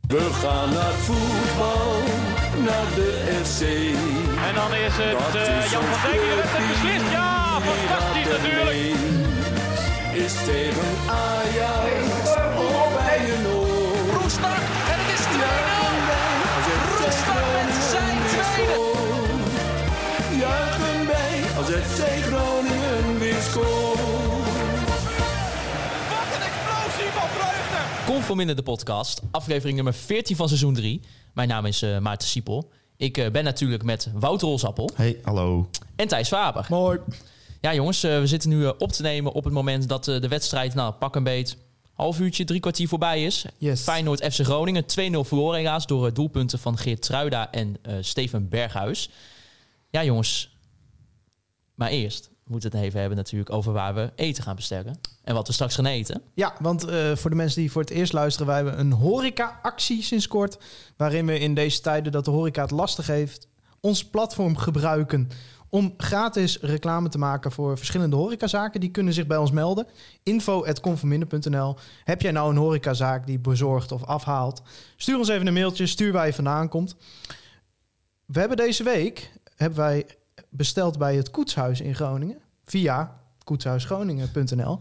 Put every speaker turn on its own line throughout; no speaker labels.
We gaan naar voetbal, naar de FC.
En dan is het eh, Jan van Dijk die de wedstrijd beslist. Ja, fantastisch natuurlijk.
Is tegen Ajax of bij een oor.
Roestak en
er
het is 2-0. Roestak met zijn tweede.
Juichen wij als FC Groningen weer scoort.
Wat een explosie van vreugde.
Conform in de podcast, aflevering nummer 14 van seizoen 3. Mijn naam is eh, Maarten Siepel. Ik eh, ben natuurlijk met Wouter Rolsappel
Hey, hallo.
en Thijs Faber.
Mooi.
Ja jongens, eh, we zitten nu eh, op te nemen op het moment dat eh, de wedstrijd, nou pak een beet, half uurtje, drie kwartier voorbij is.
Yes.
Feyenoord FC Groningen, 2-0 verloren helaas door eh, doelpunten van Geert Truida en eh, Steven Berghuis. Ja jongens, maar eerst moeten we het even hebben natuurlijk over waar we eten gaan bestellen. En wat we straks gaan eten.
Ja, want eh, voor de mensen die voor het eerst luisteren, wij hebben een horeca-actie sinds kort. Waarin we in deze tijden dat de horeca het lastig heeft, ons platform gebruiken om gratis reclame te maken voor verschillende horecazaken. Die kunnen zich bij ons melden. info.conforminder.nl Heb jij nou een horecazaak die bezorgt of afhaalt? Stuur ons even een mailtje, stuur waar je vandaan komt. We hebben deze week hebben wij besteld bij het Koetshuis in Groningen via koetshuisgroningen.nl.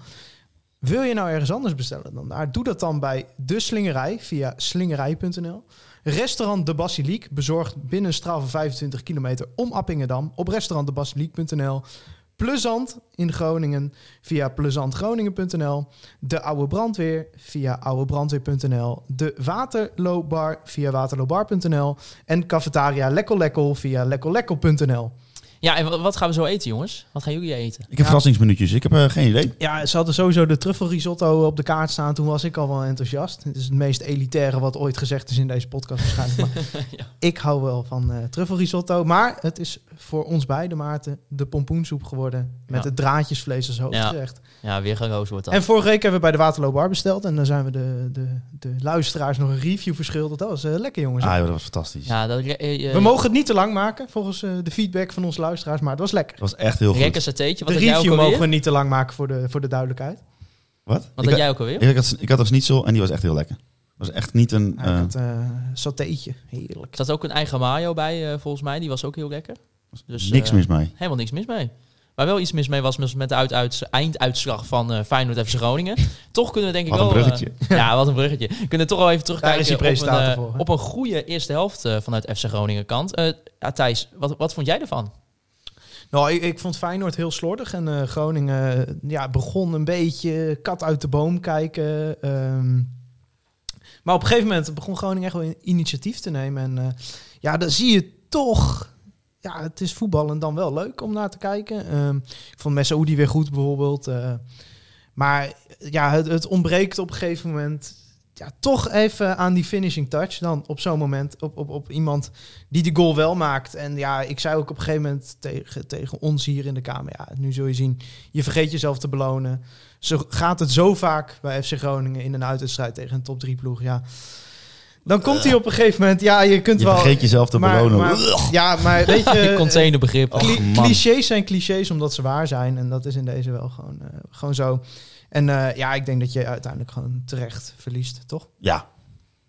Wil je nou ergens anders bestellen dan daar? Doe dat dan bij De Slingerij via slingerij.nl. Restaurant De Basiliek bezorgt binnen een straal van 25 kilometer om Appingedam op restaurantdebasiliek.nl. Plezant in Groningen via plezantgroningen.nl. De Oude Brandweer via oudebrandweer.nl. De Waterloobar via waterloobar.nl. En Cafetaria Lekkel Lekkel via lekkollekkel.nl.
Ja, en wa- wat gaan we zo eten jongens? Wat gaan jullie eten?
Ja.
heb verrassingsminuutjes, ik heb eh, geen idee.
Ja, ze hadden sowieso de truffelrisotto op de kaart staan. Toen was ik al wel enthousiast. Het is het meest elitaire wat ooit gezegd is in deze podcast waarschijnlijk. Maar Ik hou wel van eh truffelrisotto. Maar het is voor ons beide, Maarten, de pompoensoep geworden. Met
Ja.
het draadjesvlees als hoofdgerecht.
Ja, weer geroos wordt dat.
En vorige week hebben we bij de Waterloobar besteld. En dan zijn we de, de, de luisteraars nog een review verschuldigd. Dat was eh, lekker, jongens.
Ah, joh, dat was fantastisch.
Ja, dat, eh, eh,
we mogen het niet te lang maken, volgens eh, de feedback van onze luisteraars. Maar het was lekker.
Dat was echt heel
Rekker
goed.
satéetje,
De
wat had jij ook
review
alweer?
mogen we niet te lang maken voor de, voor de duidelijkheid.
Wat?
Wat
ik,
had jij ook alweer?
ik, had, ik had een schnitzel en die was echt heel lekker. was echt niet een...
Ja,
eh,
ik had eh satéetje. Heerlijk.
Er zat ook een eigen mayo bij, eh, volgens mij. Die was ook heel lekker. Dus,
niks
eh,
mis mee.
Helemaal niks mis mee. Waar wel iets mis mee was was met de uit, uit- einduitslag van eh Feyenoord FC Groningen. Toch kunnen we denk ik
Wat een
wel... eh,
bruggetje.
ja, wat een bruggetje. We kunnen toch wel even terugkijken
is die
op, een,
presentator
eh,
voor, hè?
op een goede eerste helft eh, vanuit FC Groningen kant. Eh, ja, Thijs, wat, wat vond jij ervan?
Nou, ik, ik vond Feyenoord heel slordig. En eh, Groningen eh, ja, begon een beetje kat uit de boom kijken. ehm. maar op een gegeven moment begon Groningen echt wel in- initiatief te nemen. En eh, ja, dan zie je toch... Ja, het is voetbal en dan wel leuk om naar te kijken. Ehm, ik vond Messaoudi weer goed bijvoorbeeld. eh. maar ja, het, het ontbreekt op een gegeven moment... Ja, toch even aan die finishing touch dan op zo'n moment. Op, op, op iemand die die goal wel maakt. En ja, ik zei ook op een gegeven moment tegen, tegen ons hier in de Kamer... ja, nu zul je zien, je vergeet jezelf te belonen. Zo gaat het zo vaak bij FC Groningen in een uitwedstrijd tegen een top 3 ploeg. Ja. Dan komt hij op een gegeven moment... Ja, je kunt
Eh. Je
wel...
vergeet jezelf te
maar,
belonen.
maar- ja, maar weet je... eh,
Containerbegrip.
Cli-
Och, man.
clichés zijn clichés omdat ze waar zijn. En dat is in deze wel gewoon, eh, gewoon zo. En eh, ja, ik denk dat je uiteindelijk gewoon terecht verliest, toch?
Ja,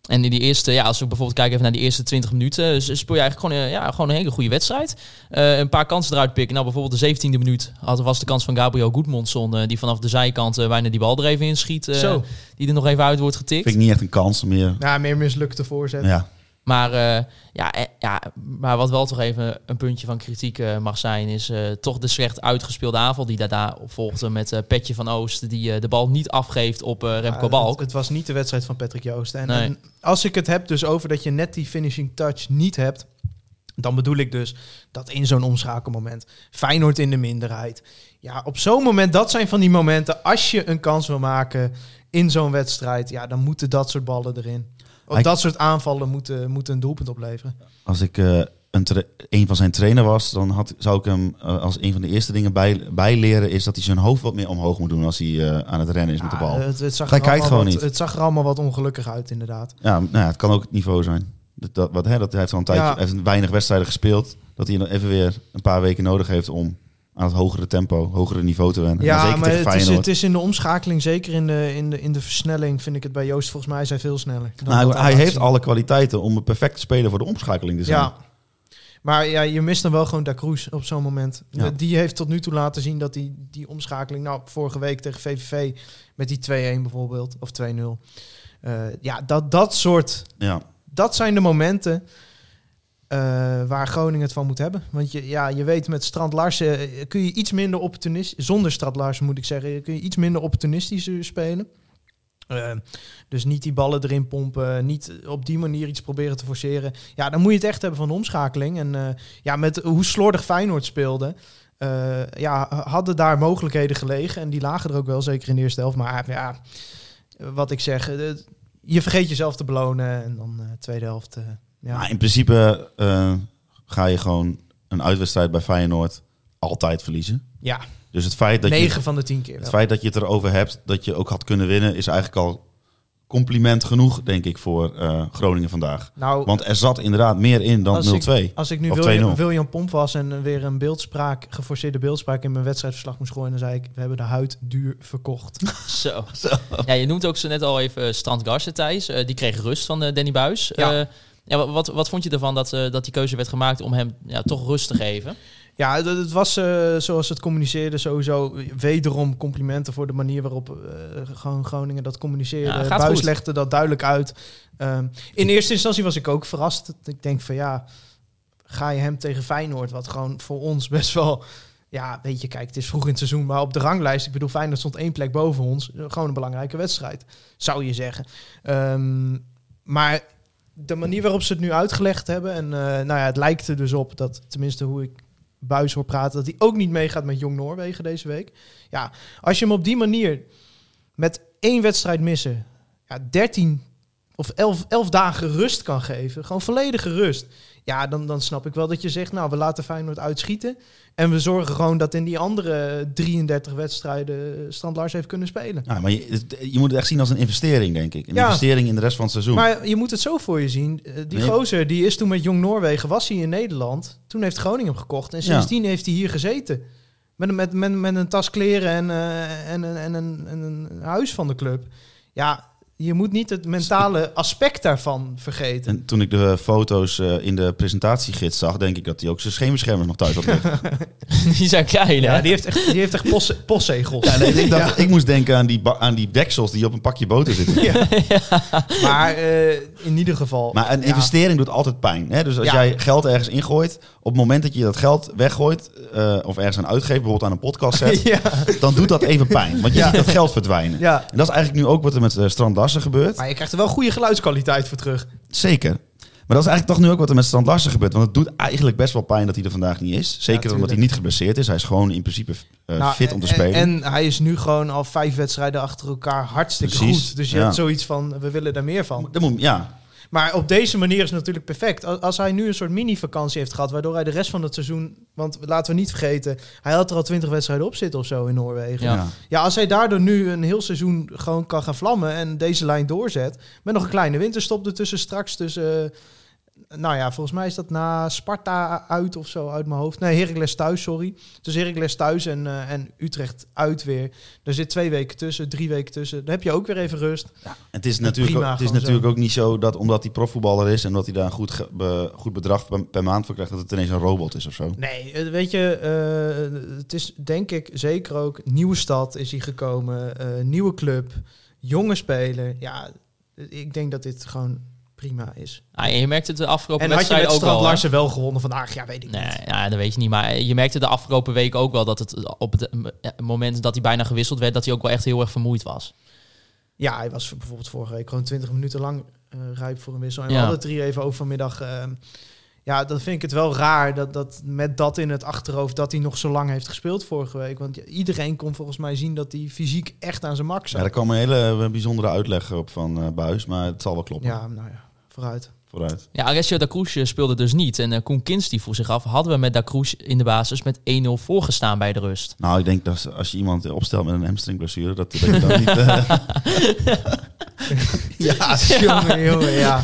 En in die eerste, ja, als we bijvoorbeeld kijken even naar die eerste 20 minuten, s- speel je eigenlijk gewoon, eh, ja, gewoon een hele goede wedstrijd. Eh, een paar kansen eruit pikken. Nou, bijvoorbeeld de 17e minuut had, was de kans van Gabriel Goedmondson, eh, die vanaf de zijkant eh, bijna die bal er even inschiet. eh,
Zo.
Die er nog even uit wordt getikt.
vind ik niet echt een kans meer.
Ja, meer mislukte voorzet.
Ja.
Maar, eh, ja, eh, ja, maar wat wel toch even een puntje van kritiek eh, mag zijn, is eh, toch de slecht uitgespeelde aanval die daarna volgde met eh, Petje van Oost, die eh, de bal niet afgeeft op eh,
Ja,
Remco
het-
Balk.
Ah, Het, was niet de wedstrijd van Patrick Joost. En,
Nee.
en als ik het heb dus over dat je net die finishing touch niet hebt... dan bedoel ik dus dat in zo'n omschakelmoment... Feyenoord in de minderheid. Ja, op zo'n moment, dat zijn van die momenten... als je een kans wil maken in zo'n wedstrijd... ja, dan moeten dat soort ballen erin. Of
Hij-
dat soort aanvallen moeten, moeten een doelpunt opleveren.
Als ik eh, een, tra- een van zijn trainer was, dan had, zou ik hem eh, als een van de eerste dingen bij, bijleren... is dat hij zijn hoofd wat meer omhoog moet doen als hij eh, aan het rennen is met de
Ja,
bal.
Het, het, zag
Hij
er
kijkt
allemaal
gewoon
wat,
niet.
het zag er allemaal wat ongelukkig uit, inderdaad.
Ja, nou ja, het kan ook het niveau zijn. Dat, dat, wat, hè, dat hij heeft al een tijdje
Ja.
heeft weinig wedstrijden gespeeld. Dat hij nog even weer een paar weken nodig heeft om aan het hogere tempo, hogere niveau te wennen. En
Ja,
zeker
maar
tegen
het is,
Feyenoord.
het is in de omschakeling, zeker in de, in, de, in de versnelling, vind ik het bij Joost volgens mij is hij veel sneller. dan
Nou,
dat
hij
laat
heeft
zien.
alle kwaliteiten om een perfecte speler voor de omschakeling te zijn.
Ja. Maar ja, je mist dan wel gewoon Da Cruz op zo'n moment.
Ja.
De- Die heeft tot nu toe laten zien dat die, die omschakeling... Nou, vorige week tegen VVV met die 2-1 bijvoorbeeld, of 2-0. Eh, ja, dat, dat soort...
Ja.
Dat zijn de momenten eh, waar Groningen het van moet hebben. Want je, ja, je weet, met Strand Larsen eh, kun je iets minder opportunistisch... Zonder Strand Larsen moet ik zeggen, kun je iets minder opportunistisch eh, spelen. Eh, dus niet die ballen erin pompen, niet op die manier iets proberen te forceren. Ja, dan moet je het echt hebben van de omschakeling. En eh, ja, met hoe slordig Feyenoord speelde, eh, ja, hadden daar mogelijkheden gelegen. En die lagen er ook wel, zeker in de eerste helft. Maar eh, ja, wat ik zeg, eh, je vergeet jezelf te belonen. En dan eh tweede helft, eh, ja.
Maar in principe eh, ga je gewoon een uitwedstrijd bij Feyenoord altijd verliezen.
ja,
Dus het feit dat,
negen
je,
van de tien keer
het
wel.
feit dat je het erover hebt dat je ook had kunnen winnen, is eigenlijk al compliment genoeg, denk ik, voor eh, Groningen vandaag.
Nou,
Want er zat inderdaad meer in dan 0-2.
Als ik- Als ik nu
Of
William,
2-0.
William Pomp was en eh, weer een beeldspraak, geforceerde beeldspraak in mijn wedstrijdverslag moest gooien, dan zei ik, we hebben de huid duur verkocht.
Zo. Ja, je noemt ook zo net al even eh, Strand Garsten, Thijs. Eh, die kreeg rust van eh, Danny Buis.
Ja.
Ja. ja, wa- wat, wat vond je ervan dat, eh, dat die keuze werd gemaakt om hem ja, toch rust te geven?
Ja, het, het was eh, zoals ze het communiceerde sowieso wederom complimenten voor de manier waarop eh, gewoon Groningen dat communiceerde.
Ja,
Ja,
gaat goed.
legde dat duidelijk uit. Ehm, in eerste instantie was ik ook verrast. Ik denk van ja, ga je hem tegen Feyenoord, wat gewoon voor ons best wel... Ja, weet je, kijk, het is vroeg in het seizoen, maar op de ranglijst, ik bedoel, Feyenoord stond één plek boven ons. Gewoon een belangrijke wedstrijd, zou je zeggen. Ehm, maar de manier waarop ze het nu uitgelegd hebben, en eh, nou ja, het lijkt er dus op dat, tenminste hoe ik Buis hoor praten, dat hij ook niet meegaat met Jong Noorwegen deze week. Ja, als je hem op die manier met één wedstrijd missen, ja, 13 of 11, 11 dagen rust kan geven, gewoon volledige rust. Ja, dan, dan snap ik wel dat je zegt, nou, we laten Feyenoord uitschieten. En we zorgen gewoon dat in die andere 33 wedstrijden eh, Strand Lars heeft kunnen spelen.
Ja, Nou, maar je, je moet het echt zien als een investering, denk ik. Een
Ja.
investering in de rest van het seizoen.
Maar je moet het zo voor je zien. Eh, Die
Nee.
gozer, die is toen met Jong Noorwegen, was hij in Nederland. Toen heeft Groningen hem gekocht. En
Ja.
sindsdien heeft hij hier gezeten. Met, een- met, met, met een tas kleren en, eh, en, een- en, een- en een huis van de club. Ja, je moet niet het mentale aspect daarvan vergeten.
En toen ik de foto's eh, in de presentatiegids zag, denk ik dat hij ook zijn scheenbeschermers nog thuis had liggen.
die zijn klein, hè?
Ja, die heeft echt, die heeft echt posse- postzegels. Ja,
ik, dacht, ik moest denken aan die, ba- aan die deksels die op een pakje boter zitten.
Maar eh, in ieder geval.
Maar een
ja.
investering doet altijd pijn. Hè? Dus als
Ja.
jij geld ergens ingooit, op het moment dat je dat geld weggooit, eh, of ergens aan uitgeeft, bijvoorbeeld aan een podcast zet,
ja,
dan doet dat even pijn. Want je ziet dat geld verdwijnen.
ja.
En dat is eigenlijk nu ook wat er met eh Strand Larsen gebeurt.
Maar je krijgt er wel goede geluidskwaliteit voor terug.
Zeker. Maar dat is eigenlijk toch nu ook wat er met Strand Larsen gebeurt. Want het doet eigenlijk best wel pijn dat hij er vandaag niet is. Zeker omdat
tuurlijk.
hij niet geblesseerd is. Hij is gewoon in principe eh,
Nou,
fit om te
en-
spelen.
En, hij is nu gewoon al vijf wedstrijden achter elkaar hartstikke
Precies,
goed. Dus je
ja.
hebt zoiets van, we willen daar meer van.
Dat moet, ja,
Maar op deze manier is het natuurlijk perfect. Als als hij nu een soort mini-vakantie heeft gehad, waardoor hij de rest van het seizoen... Want laten we niet vergeten, hij had er al twintig wedstrijden op zitten of zo in Noorwegen. Ja.
Ja.
ja.
als hij daardoor nu een heel seizoen gewoon kan gaan vlammen en deze lijn doorzet... Met nog een kleine winterstop ertussen straks tussen... eh, nou ja, volgens mij is dat na Sparta uit of zo uit mijn hoofd. Nee, Heracles thuis, sorry. Dus Heracles thuis en, eh, en Utrecht uit weer. Er zit twee weken tussen, drie weken tussen. Dan heb je ook weer even rust.
Het is natuurlijk,
prima,
ook, het is
gewoon
natuurlijk ook niet zo dat omdat hij profvoetballer is en dat hij daar een goed, ge- be- goed bedrag per, per maand voor krijgt, dat het ineens een robot is of zo.
Nee, eh, weet je, eh, het is denk ik zeker ook nieuwe stad is hij gekomen, eh, nieuwe club, jonge speler. Ja, ik denk dat dit gewoon prima is.
Ah, en je merkte het de afgelopen
en had je
wedstrijden
met
ook al.
Strand
hè?
Larsen wel gewonnen vandaag? Ja, weet ik
Nee,
niet.
ja, dat weet je niet. Maar je merkte de afgelopen week ook wel dat het op het eh, moment dat hij bijna gewisseld werd, dat hij ook wel echt heel erg vermoeid was.
Ja, hij was bijvoorbeeld vorige week gewoon 20 minuten lang eh, rijp voor een wissel. En we
Ja.
hadden het er hier even over vanmiddag. ehm, ja, dan vind ik het wel raar dat, dat met dat in het achterhoofd dat hij nog zo lang heeft gespeeld vorige week. Want iedereen kon volgens mij zien dat hij fysiek echt aan zijn max
Ja,
zat.
daar kwam een hele eh, bijzondere uitleg op van eh, Buis, maar het zal wel kloppen.
ja nou ja, vooruit.
Vooruit.
Ja, Alessio da Cruz eh, speelde dus niet. En eh, Koen Kins die vroeg zich af, hadden we met da Cruz in de basis met 1-0 voorgestaan bij de rust?
Nou, ik denk dat als je iemand opstelt met een hamstringblessure, dat, dat je dan niet... eh,
Ja, jongen, jongen, ja.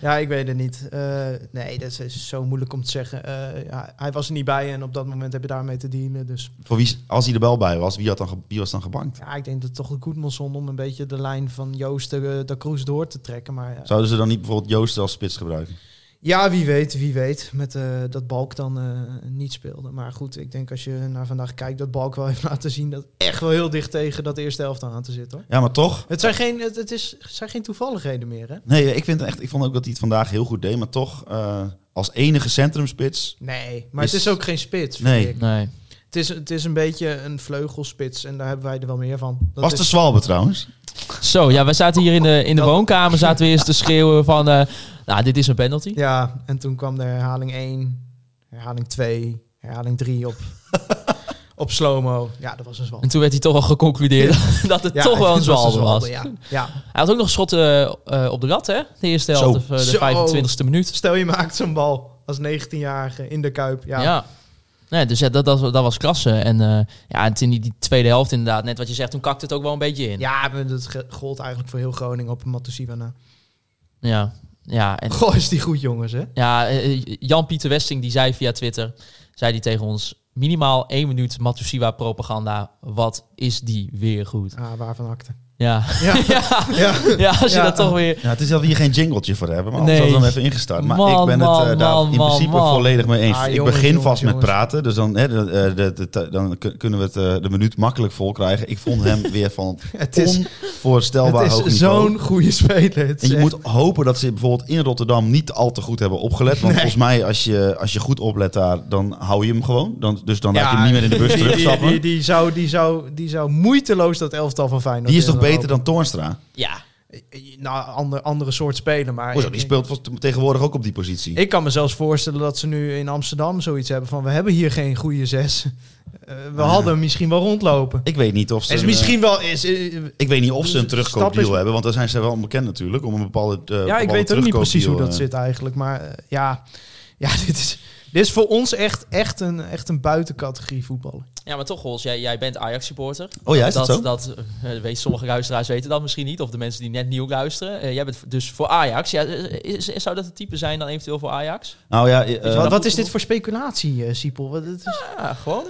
Ja, ik weet het niet. Eh, nee, dat is, is zo moeilijk om te zeggen. Eh, ja, hij was er niet bij en op dat moment heb je daarmee te dealen. Dus
Voor wie, als hij er wel bij was, wie, had dan, ge- wie was dan gebankt?
ja, ik denk dat toch Goedmanson om een beetje de lijn van Joost de, de Kroes door te trekken. Maar ja.
Zouden ze dan niet bijvoorbeeld Joost als spits gebruiken?
ja, wie weet, wie weet. Met eh, dat Balk dan eh, niet speelde. Maar goed, ik denk als je naar vandaag kijkt dat Balk wel heeft laten zien dat echt wel heel dicht tegen dat eerste helft aan te zitten. Hoor.
Ja, maar toch.
Het zijn geen, het, het is, het zijn geen toevalligheden meer, hè?
Nee, ik, vind het echt, ik vond ook dat hij het vandaag heel goed deed. Maar toch, eh, als enige centrumspits...
Nee, maar het
Is-
is ook geen spits.
Nee.
vind ik.
Nee.
Het, is, het is een beetje een vleugelspits en daar hebben wij er wel meer van. Dat
was
is-
de Zwalbe trouwens?
Zo, ja, wij zaten hier in de, in de
Dat-
woonkamer, zaten we eerst te schreeuwen van, eh, nou, dit is een penalty.
Ja, en toen kwam de herhaling 1, herhaling 2, herhaling 3 op, op slow-mo. Ja, dat was een zwalbe.
En toen werd hij toch al geconcludeerd dat het
Ja,
toch wel een
het was
zwalbe was.
Ja. ja,
Hij had ook nog schotten eh, eh, op de lat, hè? De eerste
Zo.
helft, of, eh,
Zo.
de 25e minuut.
stel je maakt zo'n bal als 19-jarige in de Kuip. Ja,
Ja. Nee, dus ja, dat, dat, dat was klasse. En eh, ja, en toen die, die tweede helft inderdaad, net wat je zegt, toen kakte het ook wel een beetje in.
ja maar dat ge- gold eigenlijk voor heel Groningen op Matusiwana.
Ja, ja, en,
Goh, is die goed, jongens, hè?
ja eh, Jan-Pieter Westing die zei via Twitter, zei die tegen ons, minimaal één minuut Matusiwa propaganda, wat is die weer goed.
Ah, waarvan acte.
Ja,
Ja.
ja.
Ja.
ja als je
Ja.
dat toch weer...
Ja, het is dat we hier geen jingletje voor hebben, maar anders
Nee.
hadden we hem even ingestart. Maar
Man,
ik ben het
man,
eh, daar
man,
in
man,
principe
man.
volledig mee eens.
Ah,
ik
jongens,
begin
jongens,
vast met
jongens.
praten, dus dan, hè, de, eh, de, de, dan kun- kunnen we het, eh, de minuut makkelijk vol krijgen. Ik vond hem weer van
Het is,
onvoorstelbaar
het
hoog
is
niveau.
zo'n goede speler. Het
En
is
je
echt-
moet hopen dat ze bijvoorbeeld in Rotterdam niet al te goed hebben opgelet. Want volgens mij, als je, als je goed oplet daar, dan hou je hem gewoon. Dan, dus dan laat je hem niet meer in de bus
die, die,
terugstappen.
die,
Die,
die, zou, die, zou, die zou moeiteloos dat elftal van Feyenoord
is toch
willen
beter dan Toornstra?
Ja,
lopen. Nou, ander, andere soort speler, maar...
Hoezo,
ik-
die speelt vast tegenwoordig ook op die positie.
Ik kan me zelfs voorstellen dat ze nu in Amsterdam zoiets hebben van... we hebben hier geen goede zes. Eh, we hadden hem misschien wel rondlopen.
Ik weet niet of ze...
is
een,
misschien wel... Is, eh,
eh, ik weet niet of ze een
Stap is-
terugkoopdeal hebben, want daar zijn ze wel onbekend natuurlijk. Om een bepaalde eh,
ja, ik
bepaalde
weet ook niet precies hoe
terugkoopdeal,
dat
eh.
zit eigenlijk. Maar eh, ja, ja dit, is, dit is voor ons echt, echt, een, echt een buitencategorie
Eh,
voetballer.
Ja, maar toch, Hols, jij, jij bent Ajax-supporter.
Oh ja, is dat,
dat,
zo?
dat, eh, weet, sommige luisteraars weten dat misschien niet, of de mensen die net nieuw luisteren. Eh, jij bent v- dus voor Ajax. Ja, eh, is, zou dat het type zijn dan eventueel voor Ajax?
Nou ja, eh,
wat, wat is dit voor speculatie, eh Siepel? Wat, het is,
Ja, gewoon.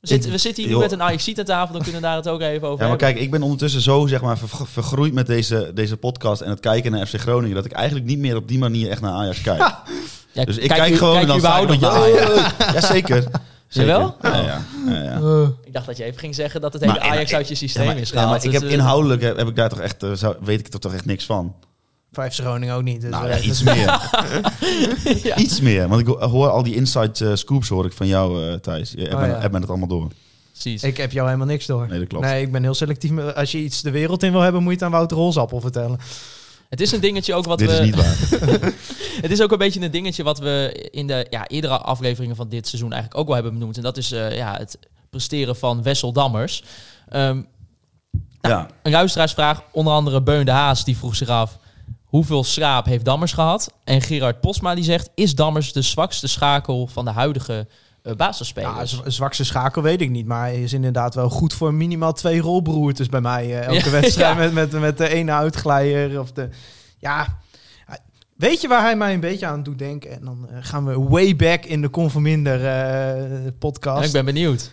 We zitten, we zitten hier nu
joh.
met een ajax aan tafel, dan kunnen we daar het ook even over
Ja, maar
hebben.
kijk, ik ben ondertussen zo zeg maar, ver- vergroeid met deze, deze podcast en het kijken naar FC Groningen... dat ik eigenlijk niet meer op die manier echt naar Ajax kijk.
Ja,
Dus ik kijk, gewoon
kijk
en dan
je
sta ik
überhaupt
nog,
nog
ja,
naar Ajax?
ja, ja, zeker. zeker.
Jawel? Oh,
Ja, ja, ja, ja.
Ik dacht dat je even ging zeggen dat het hele
Maar in-
Ajax uit je systeem
Ja, maar,
is
ja,
gehaald.
maar ik
Dus,
heb
eh,
inhoudelijk heb, heb ik daar toch echt, eh, zou- weet ik er toch echt niks van.
vijf Groningen ook niet. dus,
Nou
eh,
ja,
dat-
iets meer.
Ja.
Iets meer. Want ik ho- hoor al die inside eh, scoops hoor ik van jou, eh, Thijs. Je hebt
Oh,
me-
ja.
hebt me het allemaal door.
Precies.
Ik heb jou helemaal niks door.
Nee, dat klopt.
Nee, ik ben heel selectief. met- Als je iets de wereld in wil hebben, moet je het aan Wouter Rolsappel vertellen.
Het is een dingetje ook wat
Dit
we...
is niet waar.
Het is ook een beetje een dingetje wat we in de ja, eerdere afleveringen van dit seizoen eigenlijk ook wel hebben benoemd. En dat is eh, ja, het presteren van Wesseldammers. Ehm
ja.
een luisteraarsvraag, onder andere Beun de Haas, die vroeg zich af... hoeveel schaap heeft Dammers gehad? En Gerard Posma die zegt, is Dammers de zwakste schakel van de huidige eh
Ja,
basisspelers?
z- zwakste schakel weet ik niet. Maar hij is inderdaad wel goed voor minimaal twee rolbroertes bij mij. eh, elke
Ja,
wedstrijd
ja.
met, met, met de ene uitglijer. Of de, ja, hij- weet je waar hij mij een beetje aan doet denken? En dan eh, gaan we way back in de Conforminder eh,
Ja,
podcast.
ik ben benieuwd.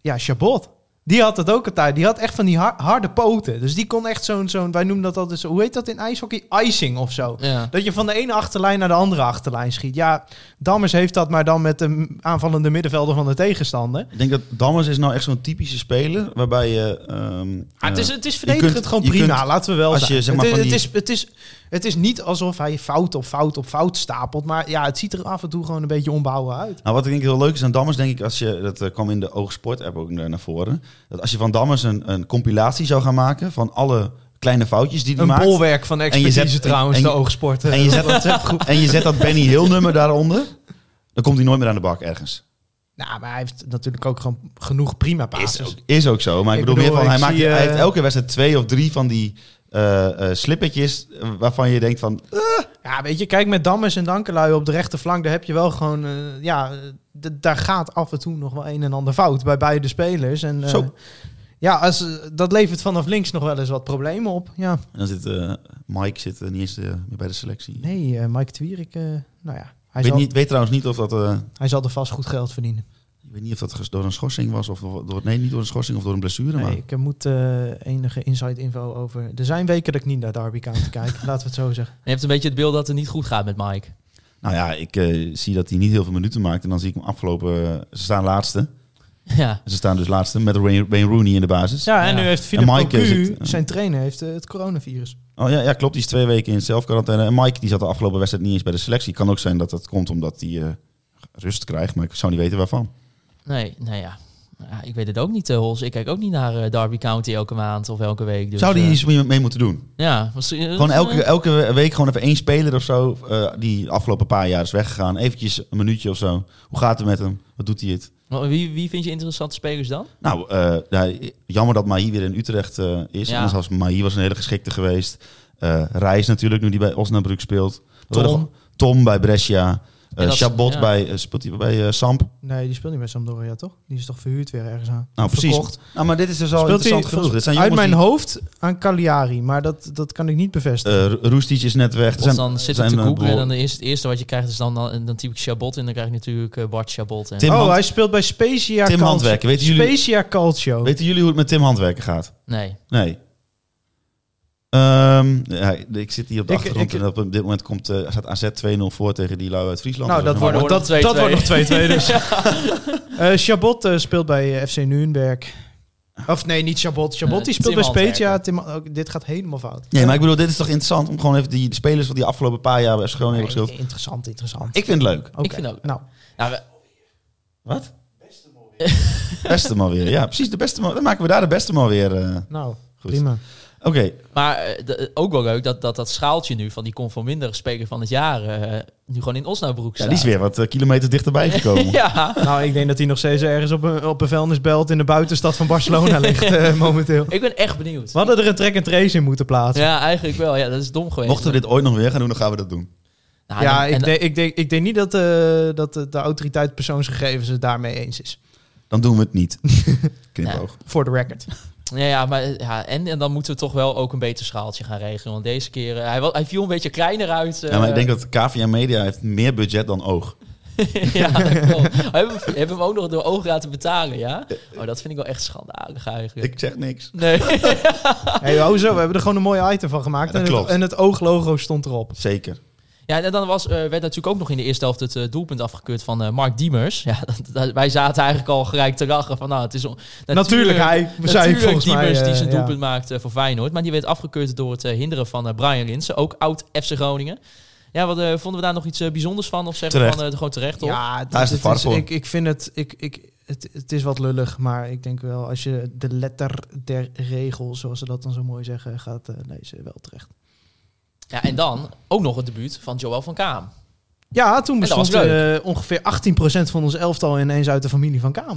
Ja, Chabot. Die had dat ook een tijd. Die had echt van die har- harde poten. Dus die kon echt zo'n, zo'n wij noemen dat altijd, zo, hoe heet dat in ijshockey? Icing of zo.
Ja.
Dat je van de ene achterlijn naar de andere achterlijn schiet. Ja, Dammers heeft dat, maar dan met de aanvallende middenvelder van de tegenstander.
Ik denk dat Dammers is nou echt zo'n typische speler waarbij je... ehm,
Ah, het, is,
eh,
het is
Verdedigend
kunt-
gewoon
je
prima,
kunt-
laten we wel
als
zijn.
je, zeg maar,
het,
van
is,
die-
het, is, het, is, het is niet alsof hij fout op fout op fout stapelt. Maar ja, het ziet er af en toe gewoon een beetje onbouwen uit.
Nou, wat ik denk heel leuk is aan Dammers, denk ik, als je, dat eh, kwam in de Oogsport-app ook naar, naar voren, dat als je van Dammers een, een compilatie zou gaan maken van alle kleine foutjes die hij
Een
maakt,
bolwerk van expertise
zet- en-
trouwens,
en
de
je-
oogsport.
en je zet dat, en je zet dat Benny Hill nummer daaronder, dan komt hij nooit meer aan de bak ergens.
Nou, maar hij heeft natuurlijk ook gewoon genoeg prima
Is ook,
passes.
is ook zo, maar ik,
Ik
bedoel,
bedoel,
meer van,
ik
hij, maakt,
zie, eh,
hij heeft elke wedstrijd twee of drie van die eh, eh, slippertjes eh, waarvan je denkt van, eh,
Ja, weet je, kijk, met Dammers en Dankelui op de rechterflank, daar heb je wel gewoon... eh, ja, d- daar gaat af en toe nog wel een en ander fout bij beide spelers. En, eh,
Zo.
Ja, als, eh, dat levert vanaf links nog wel eens wat problemen op. Ja,
En dan zit eh, Mike zit, eh, niet eens eh, meer bij de selectie.
nee, eh, Mike Twierik, eh, nou ja, hij
weet,
zal,
niet, weet trouwens niet of dat... eh,
hij zal er vast goed geld verdienen.
ik weet niet of dat ges- door een schorsing was. Of door, nee, niet door een schorsing of door een blessure.
Nee,
maar
ik eh, moet eh, enige inside info over. Er zijn weken dat ik niet naar Derby kan te kijken, laten we het zo zeggen.
Je hebt een beetje het beeld dat het niet goed gaat met Mike.
Nou ja, ik eh, zie dat hij niet heel veel minuten maakt. En dan zie ik hem afgelopen... eh, ze staan laatste.
Ja,
Ze staan dus laatste met Wayne Wayne Rooney in de basis.
Ja, en
Ja.
nu heeft Philip
En Mike
Cocu,
is het, eh,
zijn trainer, heeft eh, het coronavirus.
Oh ja, ja, klopt. Die is twee weken in zelfquarantaine. En Mike die zat de afgelopen wedstrijd niet eens bij de selectie. Kan ook zijn dat dat komt omdat hij eh, rust krijgt. Maar ik zou niet weten waarvan.
nee, nou ja. Ja, ik weet het ook niet, eh, Hols. Ik kijk ook niet naar eh, Derby County elke maand of elke week. Dus,
zou die
eh,
iets mee mee moeten doen?
ja, was, eh,
Gewoon elke, elke week gewoon even één speler of zo. eh, die de afgelopen paar jaar is weggegaan. Eventjes een minuutje of zo. Hoe gaat het met hem? Wat doet hij het?
Maar Wie, wie vind je interessante spelers dan?
Nou, eh, ja, jammer dat Mahi weer in Utrecht eh, is.
Ja.
Anders was Mahi was een hele geschikte geweest. Eh Reis natuurlijk, nu die bij Osnabrück speelt.
Tom.
Tom, Tom bij Brescia. Eh
En dat-
Chabot
ja.
bij, eh, speelt hij bij eh, Samp.
Nee, die speelt niet bij Sampdoria, toch? Die is toch verhuurd weer ergens aan?
Nou, precies.
Verkocht.
Nou, maar dit is dus al
Speelt hij
interessant genoeg. Dit zijn
uit
jongens
mijn
die...
hoofd aan Cagliari, maar dat, dat kan ik niet bevestigen.
eh, Ro- Roestic is net weg. Er
Of dan zit ik te
eh,
googlen en
behoor-
dan is het eerste wat je krijgt is dan, dan, dan typ ik Chabot in. Dan krijg ik natuurlijk eh, Bart Chabot. En,
Tim
oh,
Hand-
hij speelt bij Spezia
Tim
Calcio.
Handwerker, weten jullie-
Spezia Calcio.
Weten jullie hoe het met Tim Handwerken gaat?
Nee.
Nee. Ehm, ja, ik zit hier op de
Ik-
achtergrond
ik-
en op dit moment komt, eh, staat AZ 2-0 voor tegen die lui uit Friesland.
nou, dat
is
wordt,
nog-
dat,
wordt
dat,
nog 2-2.
wordt nog 2-2 dus. Eh, Chabot eh, speelt bij eh, FC Nuremberg. Of nee, niet Chabot. Chabot
Eh,
die speelt
Tim
bij Spezia.
Handwerker.
Tim, ook dit gaat helemaal fout.
Nee, maar ik bedoel, dit is toch interessant om gewoon even die de spelers van die afgelopen paar jaar bij FC Groningen hebben gespeeld.
Oh, Nee, interessant, interessant.
Ik vind het leuk.
Oké,
Ik vind ook.
Nou,
Nou, we-
Wat? Beste man weer. Ja, precies. De beste man. Dan maken we daar de beste man weer. eh.
nou
Goed.
prima.
Oké,
maar eh, d- ook wel leuk dat dat, dat schaaltje nu van die conforminder speler van het jaar eh, nu gewoon in Osnabroek
ja,
staat.
die is weer wat eh, kilometers dichterbij gekomen.
Ja,
Nou, ik denk dat hij nog steeds ergens op een, op een vuilnisbelt in de buitenstad van Barcelona ligt eh, momenteel.
ik ben echt benieuwd.
We hadden er een track and trace in moeten plaatsen.
Ja, eigenlijk wel. Ja, dat is dom geweest.
Mochten we dit ooit nog weer gaan doen, dan gaan we dat doen.
Nou,
Ja,
en dan- en
ik,
dan-
denk, ik, denk, ik denk niet dat, eh, dat de, de autoriteit persoonsgegevens het daarmee eens is.
Dan doen we het niet. Knipoog.
Voor de record.
Ja, ja, maar, eh, ja en, en dan moeten we toch wel ook een beter schaaltje gaan regelen. Want deze keer, eh, hij, wa- hij viel een beetje kleiner uit. eh,
Ja, maar ik denk dat KVM Media heeft meer budget dan oog.
ja, klopt. Oh, hebben, we- hebben we hem ook nog door ogen laten betalen, ja? Oh, dat vind ik wel echt schandalig eigenlijk.
Ik zeg niks.
Nee.
hey, hoezo? We hebben er gewoon een mooi item van gemaakt.
Ja,
en,
dat
het,
klopt.
en het ooglogo stond erop.
Zeker.
Ja, en dan was, eh, werd natuurlijk ook nog in de eerste helft het eh, doelpunt afgekeurd van eh, Mark Diemers. Ja, dat, dat- wij zaten eigenlijk al gelijk te lachen van, nou, het is... on-
Natuurlijk, hij. We
Natuurlijk
zijn volgens mij,
Diemers die
eh,
zijn
ja.
doelpunt maakt eh, voor Feyenoord. Maar die werd afgekeurd door het eh, hinderen van eh, Brian Linsen. Ook oud FC Groningen. Ja, wat eh, vonden we daar nog iets eh, bijzonders van? Of zeggen we
Terecht.
van eh, gewoon terecht, toch? Ja.
Ja, het-
Daar is de
het
VAR voor.
ik, ik vind het, ik, ik, het... Het is wat lullig, maar ik denk wel als je de letter der regel, zoals ze dat dan zo mooi zeggen, gaat eh, lezen, wel terecht.
en dan ook nog het debuut van Joël van Kaam.
Ja, toen
dat was
bestond eh, ongeveer 18% van ons elftal ineens uit de familie van Kaam.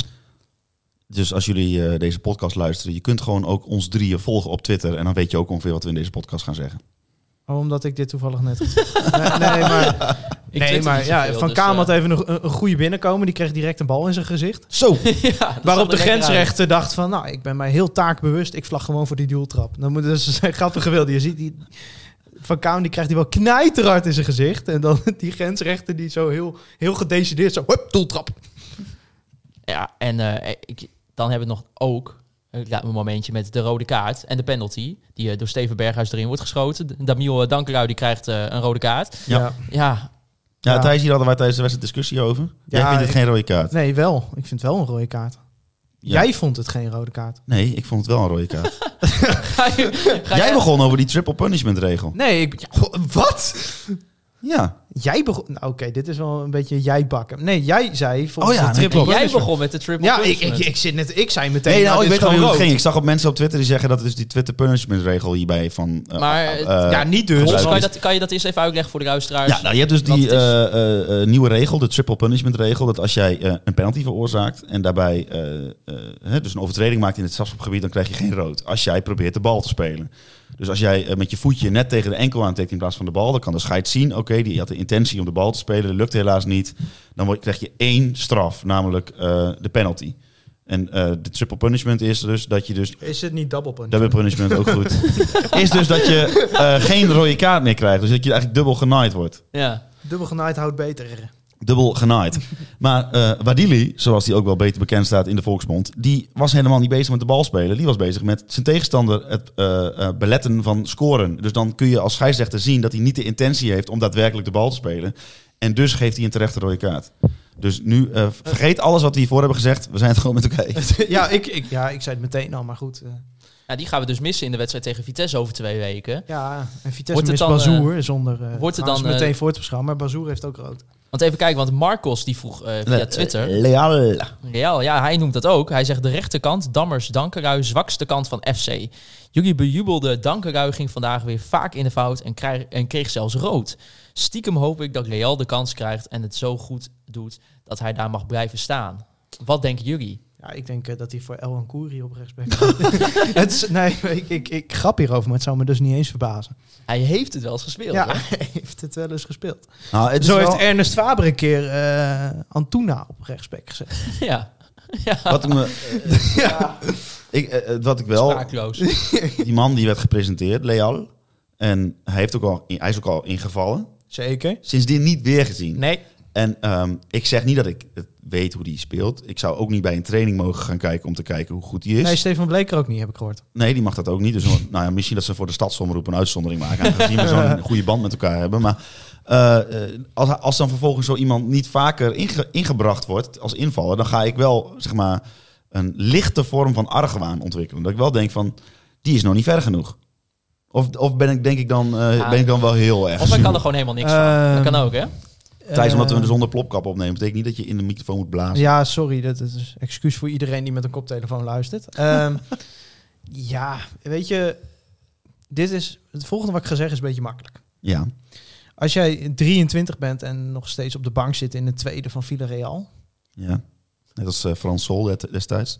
Dus als jullie eh, deze podcast luisteren, je kunt gewoon ook ons drieën volgen op Twitter. En dan weet je ook ongeveer wat we in deze podcast gaan zeggen.
Oh, omdat ik dit toevallig net... nee, nee, maar,
Ik
nee,
twitter
maar
niet
ja,
zoveel,
Van
dus,
Kaam
eh,
had even een, een goede binnenkomen. Die kreeg direct een bal in zijn gezicht.
Zo!
ja, dat zat
Waarop
er
de
lekker uit.
grensrechter dacht van... Nou, ik ben mij heel taakbewust. Ik vlag gewoon voor die dueltrap. Dan moet dus zijn grappige wilde. Je ziet die... Van Kaam die krijgt die wel knijterhard in zijn gezicht. En dan die grensrechter die zo heel, heel gedecideerd zo... Hup, doeltrap.
Ja, en eh, ik, dan hebben we nog ook... Ik laat me een momentje met de rode kaart en de penalty. Die eh, door Steven Berghuis erin wordt geschoten. Damiel eh, Dankelui die krijgt eh, een rode kaart.
Ja.
Ja,
Ja,
Ja.
Thijs, hier hadden wij tijdens de wedstrijd discussie over. Jij
Ja,
vindt het
ik-
geen rode kaart.
Nee, wel. Ik vind het wel een rode kaart.
Ja.
Jij vond het geen rode kaart.
Nee, ik vond het wel een rode kaart.
Ga je- ga
Jij
je-
begon over die triple punishment regel.
Nee, ik... ja, goh, wat?
Ja.
Jij begon... Nou, Oké, dit is wel een beetje jij bakken. Nee, jij zei volgens
Oh ja,
de triple
Nee, jij
punishment.
begon met de triple
Ja, ik, ik,
punishment.
ik, zit net, ik zei meteen...
Nee, nou,
dit
ik weet
is
al hoe
gewoon
het ging.
rood.
Ik zag op mensen op Twitter die zeggen dat dus die Twitter punishment regel hierbij van... eh,
Maar,
eh,
Ja, niet dus.
Ros,
gebruikt is.
kan, je dat, kan je dat eerst even uitleggen voor de luisteraars?
Ja, nou, je hebt dus
Want
die
het is-
eh, eh, eh, nieuwe regel, de triple punishment regel, dat als jij eh, een penalty veroorzaakt en daarbij eh, eh, hè, dus een overtreding maakt in het strafschopgebied, dan krijg je geen rood. Als jij probeert de bal te spelen. Dus als jij eh, met je voetje net tegen de enkel aantikt in plaats van de bal, dan kan de scheids zien, oké, die had de intentie om de bal te spelen, dat lukt helaas niet. Dan word, krijg je één straf, namelijk eh, de penalty. En eh, de triple punishment is dus dat je dus
Is het niet double punch?
Double punishment ook goed. is dus dat je eh, geen rode kaart meer krijgt. Dus dat je eigenlijk dubbel genaaid wordt.
Ja.
Dubbel genaaid houdt beter.
Dubbel genaaid. Maar eh Wadili, zoals die ook wel beter bekend staat in de volksmond... die was helemaal niet bezig met de bal spelen. Die was bezig met zijn tegenstander het eh, eh, beletten van scoren. Dus dan kun je als scheidsrechter zien dat hij niet de intentie heeft... om daadwerkelijk de bal te spelen. En dus geeft hij een terechte rode kaart. Dus nu eh, vergeet alles wat we hiervoor hebben gezegd. We zijn het gewoon met elkaar eens.
ja, ik, ik, ja, ik zei het meteen al, maar goed. eh,
ja, die gaan we dus missen in de wedstrijd tegen Vitesse over twee weken.
ja, en Vitesse
Wordt het
mist
dan,
Bazoer zonder... eh
wordt het
trouwens
dan, eh,
meteen voor te beschouwen, maar Bazoer heeft ook rood.
Want even kijken, want Marcos die vroeg eh, via Twitter...
Leal.
Real, ja, hij noemt dat ook. Hij zegt de rechterkant, Dammers, Dankerui, zwakste kant van FC. Jullie bejubelde Dankerui ging vandaag weer vaak in de fout en, krijg- en kreeg zelfs rood. Stiekem hoop ik dat Real de kans krijgt en het zo goed doet dat hij daar mag blijven staan. Wat denken jullie?
Ja, ik denk eh, dat hij voor El Kouri op rechtsback gaat. Het is- nee, ik, ik, ik grap hierover, maar het zou me dus niet eens verbazen.
Hij heeft het wel eens gespeeld.
Ja,
hè?
hij heeft het wel eens gespeeld.
Nou, het is
Zo
wel-
heeft Ernest Faber een keer eh, Antuna op rechtsback gezet.
ja.
Wat me, ik, eh, eh, wat ik wel.
Spraakloos.
Die man die werd gepresenteerd, Leal. En hij, heeft ook al, hij is ook al ingevallen.
Zeker.
Sindsdien niet weer gezien.
Nee.
En ehm, ik zeg niet dat ik het weet hoe die speelt. Ik zou ook niet bij een training mogen gaan kijken om te kijken hoe goed die is.
Nee,
Nee,
Stefan Bleker ook niet, heb ik gehoord.
die mag dat ook niet. Dus nou ja, misschien dat ze voor de stadsomroep een uitzondering maken. Aangezien we zo'n goede band met elkaar hebben. Maar eh, eh, als, hij- als dan vervolgens zo iemand niet vaker inge- ingebracht wordt als invaller, dan ga ik wel zeg maar een lichte vorm van argwaan ontwikkelen. Dat ik wel denk van, die is nog niet ver genoeg. Of, of ben ik denk ik dan, eh,
Ja.
ben ik dan wel heel erg.
Of hij kan er gewoon helemaal niks van. Dat kan
Ehm.
ook, hè?
Thijs, omdat we
Eh,
hem zonder plopkap opnemen, betekent niet dat je in de microfoon moet blazen.
Ja, sorry, dat dat is excuus voor iedereen die met een koptelefoon luistert. Ehm, ja, weet je, dit is het volgende wat ik ga zeggen is een beetje makkelijk.
Ja.
Als jij 23 bent en nog steeds op de bank zit in de tweede van Villarreal.
Ja. Net als eh, Frans Sol det- destijds.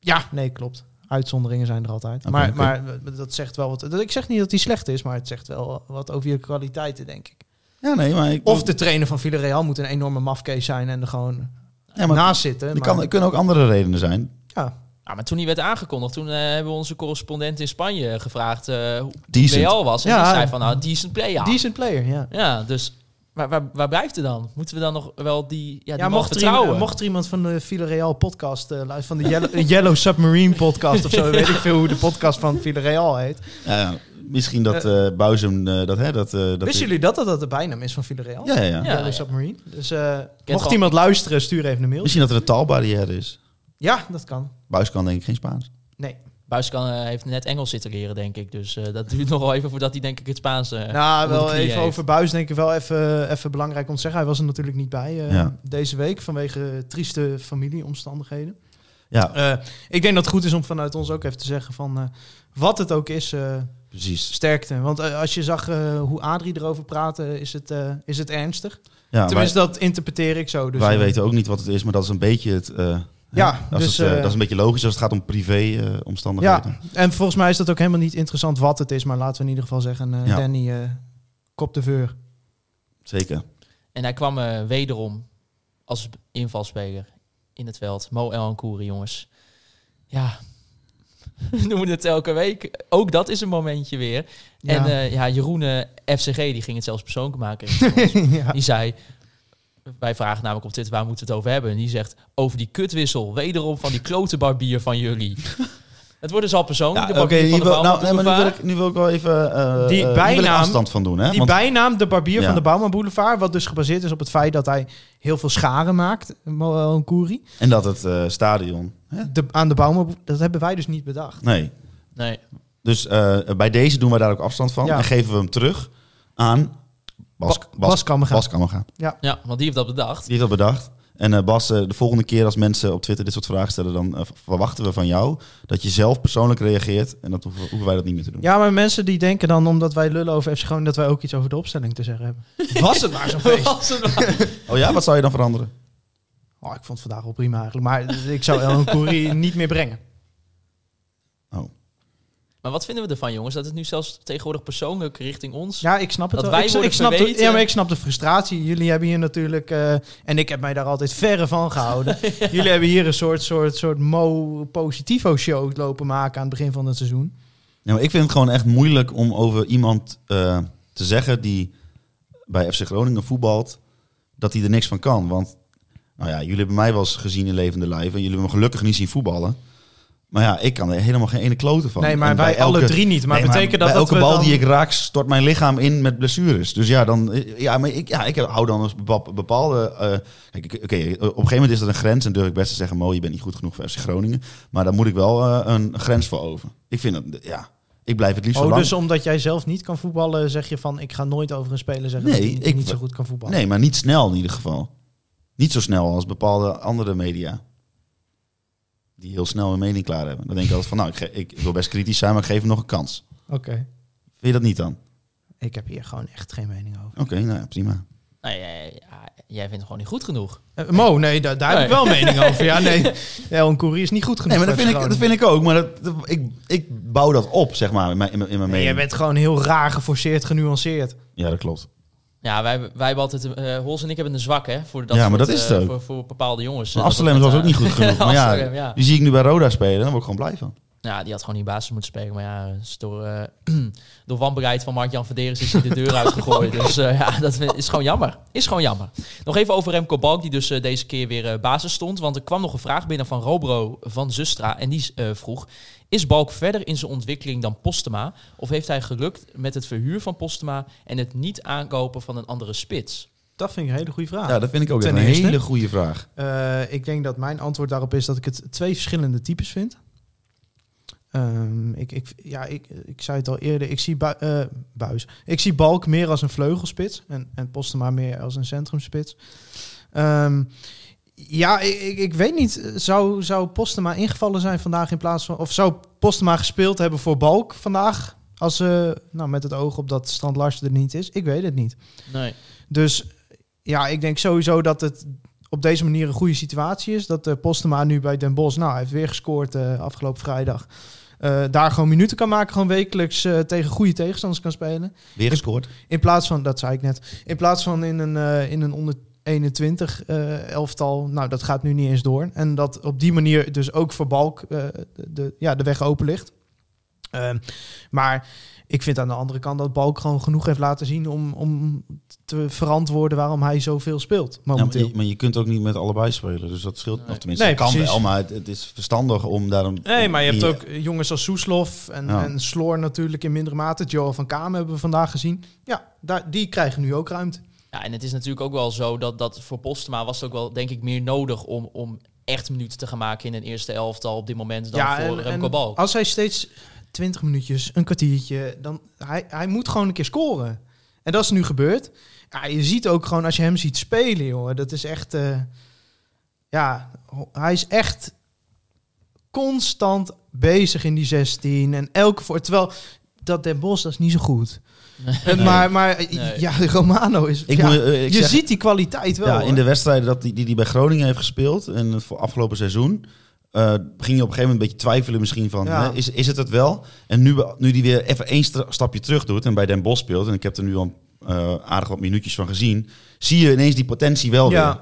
Ja, nee, klopt. Uitzonderingen zijn er altijd.
Oké,
maar,
oké.
maar dat zegt wel wat. Ik zeg niet dat hij slecht is, maar het zegt wel wat over je kwaliteiten, denk ik.
Ja, nee, maar... Ik,
Of de trainer van Villarreal moet een enorme mafkees zijn en er gewoon
ja, maar
naast zitten.
er
maar-
kan, er kunnen ook andere redenen zijn.
ja,
Ja, maar toen hij werd aangekondigd, toen eh, hebben we onze correspondent in Spanje gevraagd eh, hoe
Decent.
Real was. En
Ja.
die zei van, nou, decent player.
decent player, ja.
Ja, dus waar, waar, waar blijft er dan? Moeten we dan nog wel die, ja, die
Ja,
man
mocht er,
vertrouwen?
iemand, mocht er iemand van de Villarreal podcast eh, luisteren, van de Yellow, Yellow Submarine podcast of zo, weet ik veel hoe de podcast van Villarreal heet.
Ja, ja. misschien dat eh Buizum... eh, dat, hè, dat, eh, dat
Wisten jullie dat dat, dat de bijnaam is van Villarreal?
Ja, ja, ja.
Ja.
Yellow Submarine. Dus eh, mocht
wel-
iemand luisteren, stuur even een mail.
Misschien dat er een taalbarrière is.
Ja, dat kan.
Buis kan denk ik geen Spaans.
Nee.
Buis kan, eh, heeft net Engels zitten leren, denk ik. Dus eh, dat duurt nog wel even voordat hij, denk ik, het Spaans. eh,
nou,
onder de
wel
knie
even
heeft.
over Buis denk ik wel even, eh, even belangrijk om te zeggen. Hij was er natuurlijk niet bij eh,
Ja.
deze week vanwege trieste familieomstandigheden.
Ja,
Eh, ik denk dat het goed is om vanuit ons ook even te zeggen van eh, wat het ook is... eh,
precies.
Sterkte. Want eh, als je zag eh, hoe Adrie erover praatte, is het, eh, is het ernstig.
Ja, Nou, wij,
Tenminste, dat interpreteer ik zo. Dus,
wij
eh,
weten ook niet wat het is, maar dat is een beetje het... eh, hè,
Ja,
dat,
dus,
is het, eh,
eh,
dat is een beetje logisch als het gaat om eh, privé-omstandigheden.
Ja, en volgens mij is dat ook helemaal niet interessant wat het is. Maar laten we in ieder geval zeggen, eh,
Ja.
Danny, eh, kop de veur.
Zeker.
En hij kwam eh, wederom als invalspeler in het veld. Mo El Koeri, jongens. Ja, we noemen het elke week. Ook dat is een momentje weer.
Ja.
En eh, ja, Jeroen eh, FCG, die ging het zelfs persoonlijk maken.
ja.
Die zei... Wij vragen namelijk op Twitter, waar moeten we het over hebben? En die zegt, over die kutwissel. Wederom van die klote barbier van jullie. het wordt dus al persoonlijk.
Ja,
de
Oké,
barbier van
hier
de
wil- nou,
Bouwman
nee, maar
Boulevard.
nu wil, ik, nu wil ik wel even eh
Die
eh, hier wil ik
bijnaam-
afstand van doen. Hè?
Die
Want-
bijnaam, de barbier
Ja.
van de Bouwman Boulevard, wat dus gebaseerd is op het feit dat hij heel veel scharen maakt, Moel Nkouri,
en dat het eh, stadion... Hè?
de, aan de Bouwman, dat hebben wij dus niet bedacht.
Nee,
Nee.
Dus eh, bij deze doen wij daar ook afstand van
Ja.
en geven we hem terug aan Bas,
Ba- Bas Kammerga.
Bas Kammerga.
Ja, want die heeft dat bedacht.
Die heeft dat bedacht. En eh, Bas, eh, de volgende keer als mensen op Twitter dit soort vragen stellen, dan eh, verwachten we van jou dat je zelf persoonlijk reageert. En dat hoeven, hoeven wij dat niet meer te doen.
Ja, maar mensen die denken dan, omdat wij lullen over FC Groningen, dat wij ook iets over de opstelling te zeggen hebben. Was het maar zo'n feest.
Oh ja, wat zou je dan veranderen?
Oh, ik vond het vandaag wel prima eigenlijk. Maar ik zou El Koeri niet meer brengen.
Oh.
Maar wat vinden we ervan, jongens? Dat het nu zelfs tegenwoordig persoonlijk richting ons...
Ja, ik snap het
Dat
wel.
wij
ik,
worden
ik snap de,
verweten.
ja, maar ik snap de frustratie. Jullie hebben hier natuurlijk... eh, en ik heb mij daar altijd verre van gehouden. Jullie hebben hier een soort, soort, soort Mo-positivo-show lopen maken aan het begin van het seizoen.
Ja, maar Nou, ik vind het gewoon echt moeilijk om over iemand eh, te zeggen die bij FC Groningen voetbalt, dat hij er niks van kan. Want nou ja, jullie hebben mij wel eens gezien in levende lijf en jullie hebben me gelukkig niet zien voetballen. Maar ja, ik kan er helemaal geen ene klote van.
nee, maar
En
wij
bij elke-
alle drie niet. Maar
Nee,
betekent dat
bij
dat
elke
we
bal
dan-
die ik raak stort mijn lichaam in met blessures. Dus ja, dan, ja, maar ik, ja, ik hou dan een bepa- bepaalde... eh, kijk, ik- oké, op een gegeven moment is er een grens en durf ik best te zeggen... Mo, je bent niet goed genoeg voor FC Groningen. Maar daar moet ik wel eh, een grens voor over. Ik vind dat, ja, ik blijf het liefst zo
Oh,
lang...
dus omdat jij zelf niet kan voetballen, zeg je van... ik ga nooit over een speler zeggen
Nee,
dat hij
ik-
niet zo goed kan voetballen.
Nee, maar niet snel in ieder geval. Niet zo snel als bepaalde andere media. Die heel snel een mening klaar hebben. Dan denk ik altijd van, nou, ik, ge- ik wil best kritisch zijn, maar ik geef hem nog een kans.
Oké.
Vind je dat niet dan?
Ik heb hier gewoon echt geen mening over.
Oké, nou ja, prima.
Nou, ja, ja, ja, jij vindt het gewoon niet goed genoeg.
Eh, Mo, nee, daar, daar heb ik wel mening over. Ja, nee. El Koeri is niet goed genoeg.
Nee, maar dat
voor
vind, ik,
FC
dat
Groningen.
vind ik ook. Maar dat, dat- ik, ik bouw dat op, zeg maar, in mijn, in mijn in mijn
Nee,
mening.
jij bent gewoon heel raar geforceerd, genuanceerd.
Ja, dat klopt.
Ja, wij, wij hebben altijd... eh Hols en ik hebben een zwak, hè? Voor dat
Ja, maar
soort,
dat is
eh,
het ook.
Voor, voor bepaalde jongens.
Maar
Eh,
Amsterdam
dat-
was ook niet goed genoeg. Maar ja,
Amsterdam, ja.
die zie ik nu bij Roda spelen. Daar word ik gewoon blij van.
Ja, die had gewoon die basis moeten spelen. Maar ja, is door, eh door wanbereid van Mark-Jan Verderes is hij de deur uitgegooid. Dus eh, ja, dat is gewoon jammer. Is gewoon jammer. Nog even over Remco Balk, die dus eh, deze keer weer eh, basis stond. Want er kwam nog een vraag binnen van Robro van Zustra. En die eh, vroeg, is Balk verder in zijn ontwikkeling dan Postema? Of heeft hij gelukt met het verhuur van Postema en het niet aankopen van een andere spits?
Dat vind ik een hele goede vraag.
Ja, dat vind ik ook echt
Ah, ten
een
eerste-
hele goede vraag.
Eh, ik denk dat mijn antwoord daarop is dat ik het twee verschillende types vind. Ehm, ik, ik, ja, ik, ik zei het al eerder, ik zie, bui, eh, buis. ik zie Balk meer als een vleugelspits en, en Postema meer als een centrumspits. Ehm, ja, ik, ik, ik weet niet, zou, zou Postema ingevallen zijn vandaag in plaats van... Of zou Postema gespeeld hebben voor Balk vandaag? Als, eh, nou, met het oog op dat Strand Larsen er niet is. Ik weet het niet.
Nee.
Dus ja, ik denk sowieso dat het op deze manier een goede situatie is. Dat eh Postema nu bij Den Bosch, nou, hij heeft weer gescoord eh, afgelopen vrijdag. Eh, daar gewoon minuten kan maken, gewoon wekelijks eh, tegen goede tegenstanders kan spelen.
Weer gescoord.
In plaats van, dat zei ik net, in plaats van in een, eh, in een onder 21 eh, elftal, nou, dat gaat nu niet eens door. En dat op die manier dus ook voor Balk eh, de, de- ja, de weg open ligt. Ehm, maar ik vind aan de andere kant dat Balk gewoon genoeg heeft laten zien om, om te verantwoorden waarom hij zoveel speelt
Ja, maar,
momenteel.
je, maar je kunt ook niet met allebei spelen. Dus dat scheelt. Of tenminste,
Nee,
dat kan
precies.
wel. Maar het, het is verstandig om daarom.
Nee, maar je hebt ook eh, jongens als Soeslof en,
Ja.
en Sloor natuurlijk in mindere mate. Joel van Kamer hebben we vandaag gezien. Ja, daar, die krijgen nu ook ruimte.
Ja, en het is natuurlijk ook wel zo dat, dat voor Postma was het ook wel, denk ik, meer nodig om, om echt minuten te gaan maken in een eerste elftal op dit moment dan
ja,
voor
en-
Remco
en
Balk.
Als hij steeds 20 minuutjes, een kwartiertje, dan hij, hij moet gewoon een keer scoren. En dat is nu gebeurd. Ja, je ziet ook gewoon als je hem ziet spelen, joh, dat is echt. eh, ja, ho- hij is echt constant bezig in die 16 en elke voor terwijl dat Den Bos dat is niet zo goed. Eh, Maar, maar
Nee.
ja, Romano is.
Ik
ja,
moet, eh, ik
je
zeg-
ziet die kwaliteit wel.
ja,
hoor.
in de wedstrijden dat die, die, die bij Groningen heeft gespeeld. En het voor afgelopen seizoen. eh, ging je op een gegeven moment een beetje twijfelen misschien van.
Ja.
Hè, is, is het het wel? En nu, be- nu die weer even één stra- stapje terug doet. En bij Den Bosch speelt. En ik heb er nu al eh, aardig wat minuutjes van gezien. Zie je ineens die potentie wel
Ja.
weer.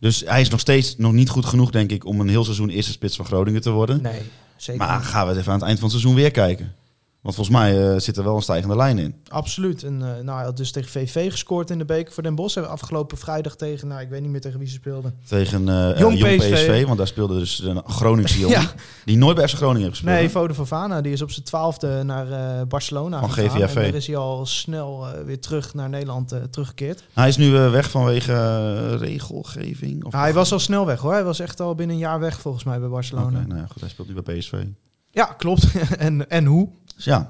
Dus hij is nog steeds nog niet goed genoeg, denk ik, om een heel seizoen eerste spits van Groningen te worden.
Nee, zeker.
Maar
niet.
gaan we het even aan het eind van het seizoen weer kijken. Want volgens mij eh, zit er wel een stijgende lijn in.
Absoluut. En eh, nou, hij had dus tegen VV gescoord in de beker voor Den Bosch. Hebben afgelopen vrijdag tegen, nou, ik weet niet meer tegen wie ze speelden.
Tegen eh, eh,
Jong
Jong PSV.
PSV,
Want daar speelde dus een Groningse jongen.
Ja.
Die nooit bij FC Groningen heeft gespeeld.
Nee,
hè?
Vode Fofana, die is op zijn twaalfde naar eh, Barcelona
Van
gegaan.
GVFV.
En daar is hij al snel eh, weer terug naar Nederland eh, teruggekeerd.
Hij is nu eh, weg vanwege eh, regelgeving.
Ah,
Of
Nou, hij was al snel weg hoor. Hij was echt al binnen een jaar weg volgens mij bij Barcelona.
Oké, nou ja, goed, hij speelt nu bij PSV.
Ja, klopt. en, en hoe?
Dus ja,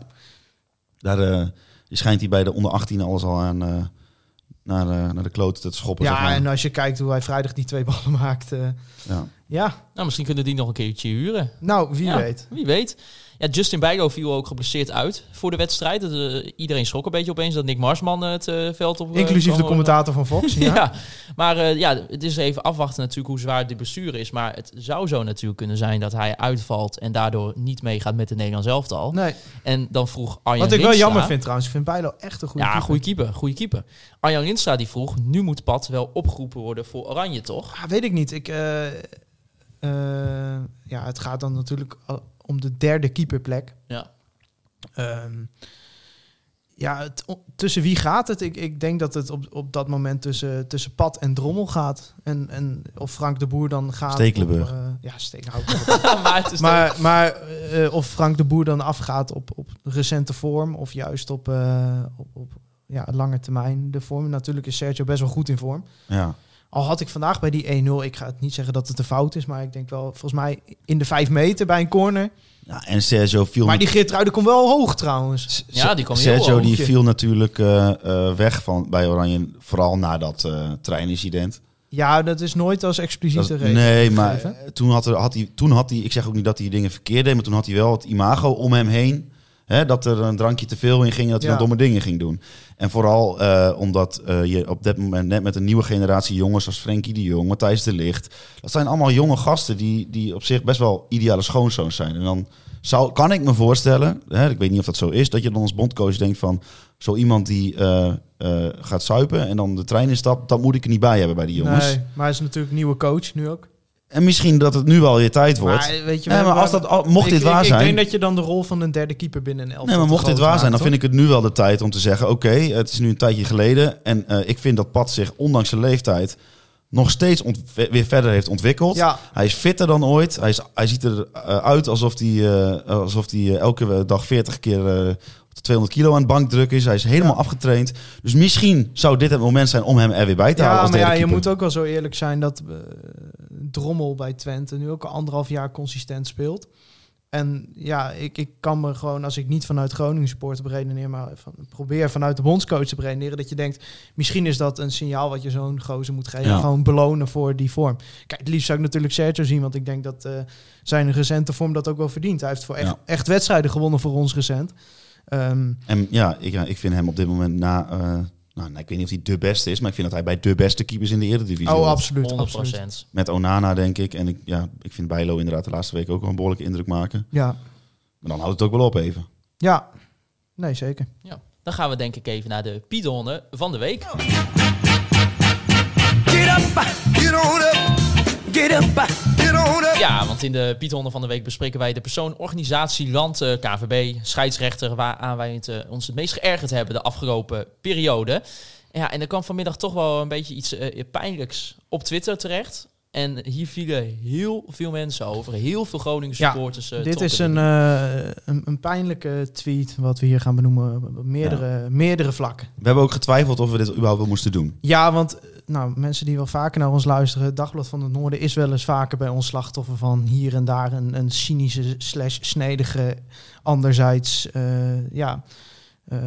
daar eh, schijnt hij bij de onder 18 alles al aan eh, naar, eh, naar de kloten te schoppen. zeg
ja,
maar.
en als je kijkt hoe hij vrijdag die twee ballen maakt. eh,
ja.
Ja,
Nou, misschien kunnen die nog een keertje huren.
nou, wie
Ja,
weet.
Wie weet. Ja, Justin Bijgo viel ook geblesseerd uit voor de wedstrijd. Dat, eh, iedereen schrok een beetje opeens dat Nick Marsman eh, het eh, veld op... eh,
Inclusief de
kwam.
commentator van Fox.
Ja.
Ja.
maar eh, ja, het is even afwachten natuurlijk hoe zwaar die blessure is. Maar het zou zo natuurlijk kunnen zijn dat hij uitvalt en daardoor niet meegaat met de Nederlands elftal.
Nee.
En dan vroeg Arjan
Wat ik wel
Rinstra-
jammer vind trouwens. Ik vind Bijlo echt een goede
ja,
keeper.
goede keeper, goede keeper. Arjan Rinstra die vroeg, nu moet Pat wel opgeroepen worden voor Oranje, toch?
Ah, weet ik niet. Ik, eh, eh, ja, het gaat dan natuurlijk al om de derde keeperplek.
Ja.
Ehm, ja, het, o- tussen wie gaat het? Ik, ik denk dat het op, op dat moment tussen, tussen Pat en Drommel gaat. En, en of Frank de Boer dan gaat... op,
Stekelenburg.
eh, ja, Stekelenburg.
maar het is maar,
maar maar eh, of Frank de Boer dan afgaat op, op recente vorm of juist op, eh, op, op ja, lange termijn de vorm. Natuurlijk is Sergio best wel goed in vorm.
Ja.
Al had ik vandaag bij die 1-0, ik ga het niet zeggen dat het een fout is, maar ik denk wel volgens mij in de 5 meter bij een corner.
ja en Sergio viel...
Maar die Geertruiden komt wel hoog trouwens.
S-
Ja, die kwam heel
Sergio
hoog.
die
Ja.
viel natuurlijk eh, eh, weg van, bij Oranje. Vooral na dat eh, trainincident.
Ja, dat is nooit als expliciete
Dat-
reden.
nee, maar
gegeven.
eh, toen had, er, had hij, toen had hij... Ik zeg ook niet dat hij dingen verkeerd deed. Maar toen had hij wel het imago om hem heen. Hè, dat er een drankje te veel in ging. en Dat hij
Ja.
dan domme dingen ging doen. En vooral eh, omdat eh, je op dat moment net met een nieuwe generatie jongens... als Frenkie de Jong, Matthijs de Licht... Dat zijn allemaal jonge gasten die, die op zich best wel ideale schoonzoons zijn. En dan zou, kan ik me voorstellen, hè, ik weet niet of dat zo is, dat je dan als bondcoach denkt van zo iemand die eh, eh, gaat suipen en dan de trein instapt, dat moet ik er niet bij hebben bij die jongens.
Nee, maar hij is natuurlijk nieuwe coach nu ook.
En misschien dat het nu wel weer tijd wordt.
Maar, weet je
nee,
wel,
maar als
waar-
dat, al- mocht
Ik-
dit waar
ik,
zijn.
Ik denk dat je dan de rol van een derde keeper binnen een elftal
Nee, maar
te
mocht dit
groot
waar zijn,
maakt,
dan vind ik het nu wel de tijd om te zeggen: oké, het is nu een tijdje geleden. En eh, ik vind dat Pat zich, ondanks zijn leeftijd, nog steeds ont- weer verder heeft ontwikkeld.
Ja.
Hij is fitter dan ooit. Hij, is, hij ziet eruit alsof hij, eh, alsof hij eh, elke dag 40 keer eh, 200 kilo aan het bankdruk is. Hij is helemaal afgetraind. Dus misschien zou dit het moment zijn om hem er weer bij te
Ja,
halen. Als
maar ja,
derde
je
keeper.
moet ook wel zo eerlijk zijn dat eh, Drommel bij Twente nu ook al anderhalf jaar consistent speelt. En ja, ik, ik kan me gewoon, als ik niet vanuit Groningen supporter beredeneer, maar van, probeer vanuit de bondscoach te beredeneren, dat je denkt, misschien is dat een signaal wat je zo'n gozer moet geven.
Ja.
Gewoon belonen voor die vorm. Kijk, het liefst zou ik natuurlijk Sergio zien, want ik denk dat eh, zijn recente vorm dat ook wel verdient. Hij heeft voor echt,
Ja.
echt wedstrijden gewonnen voor ons recent. Ehm,
En ja, ik, ja, ik vind hem op dit moment na. eh, nou, nee, ik weet niet of hij de beste is, maar ik vind dat hij bij de beste keepers in de Eredivisie
oh,
hoort.
absoluut,
100%.
absoluut.
Met Onana, denk ik. En ik, ja, ik vind Bijlo inderdaad de laatste week ook wel een behoorlijke indruk maken.
Ja.
Maar dan houdt het ook wel op even.
ja, nee, zeker.
Ja. Dan gaan we denk ik even naar de Piedonnen van de week.
Oh.
Get up, get on up, get up, get on up.
Ja, want in de Piethonden van de Week bespreken wij de persoon, organisatie, land, eh, KVB, scheidsrechter, waaraan wij het, eh, ons het meest geërgerd hebben de afgelopen periode. Ja, en er kwam vanmiddag toch wel een beetje iets eh, pijnlijks op Twitter terecht. En hier vielen heel veel mensen over, heel veel Groningen
Ja,
supporters. eh,
Dit
trokken
is
er
een,
niet.
eh, een, een pijnlijke tweet, wat we hier gaan benoemen. op Meerdere, meerdere vlakken.
We hebben ook getwijfeld of we dit überhaupt wel moesten doen.
Ja, want eh, nou, mensen die wel vaker naar ons luisteren, het Dagblad van het Noorden is wel eens vaker bij ons slachtoffer van hier en daar een, een cynische slash snedige, anderzijds eh, ja, eh,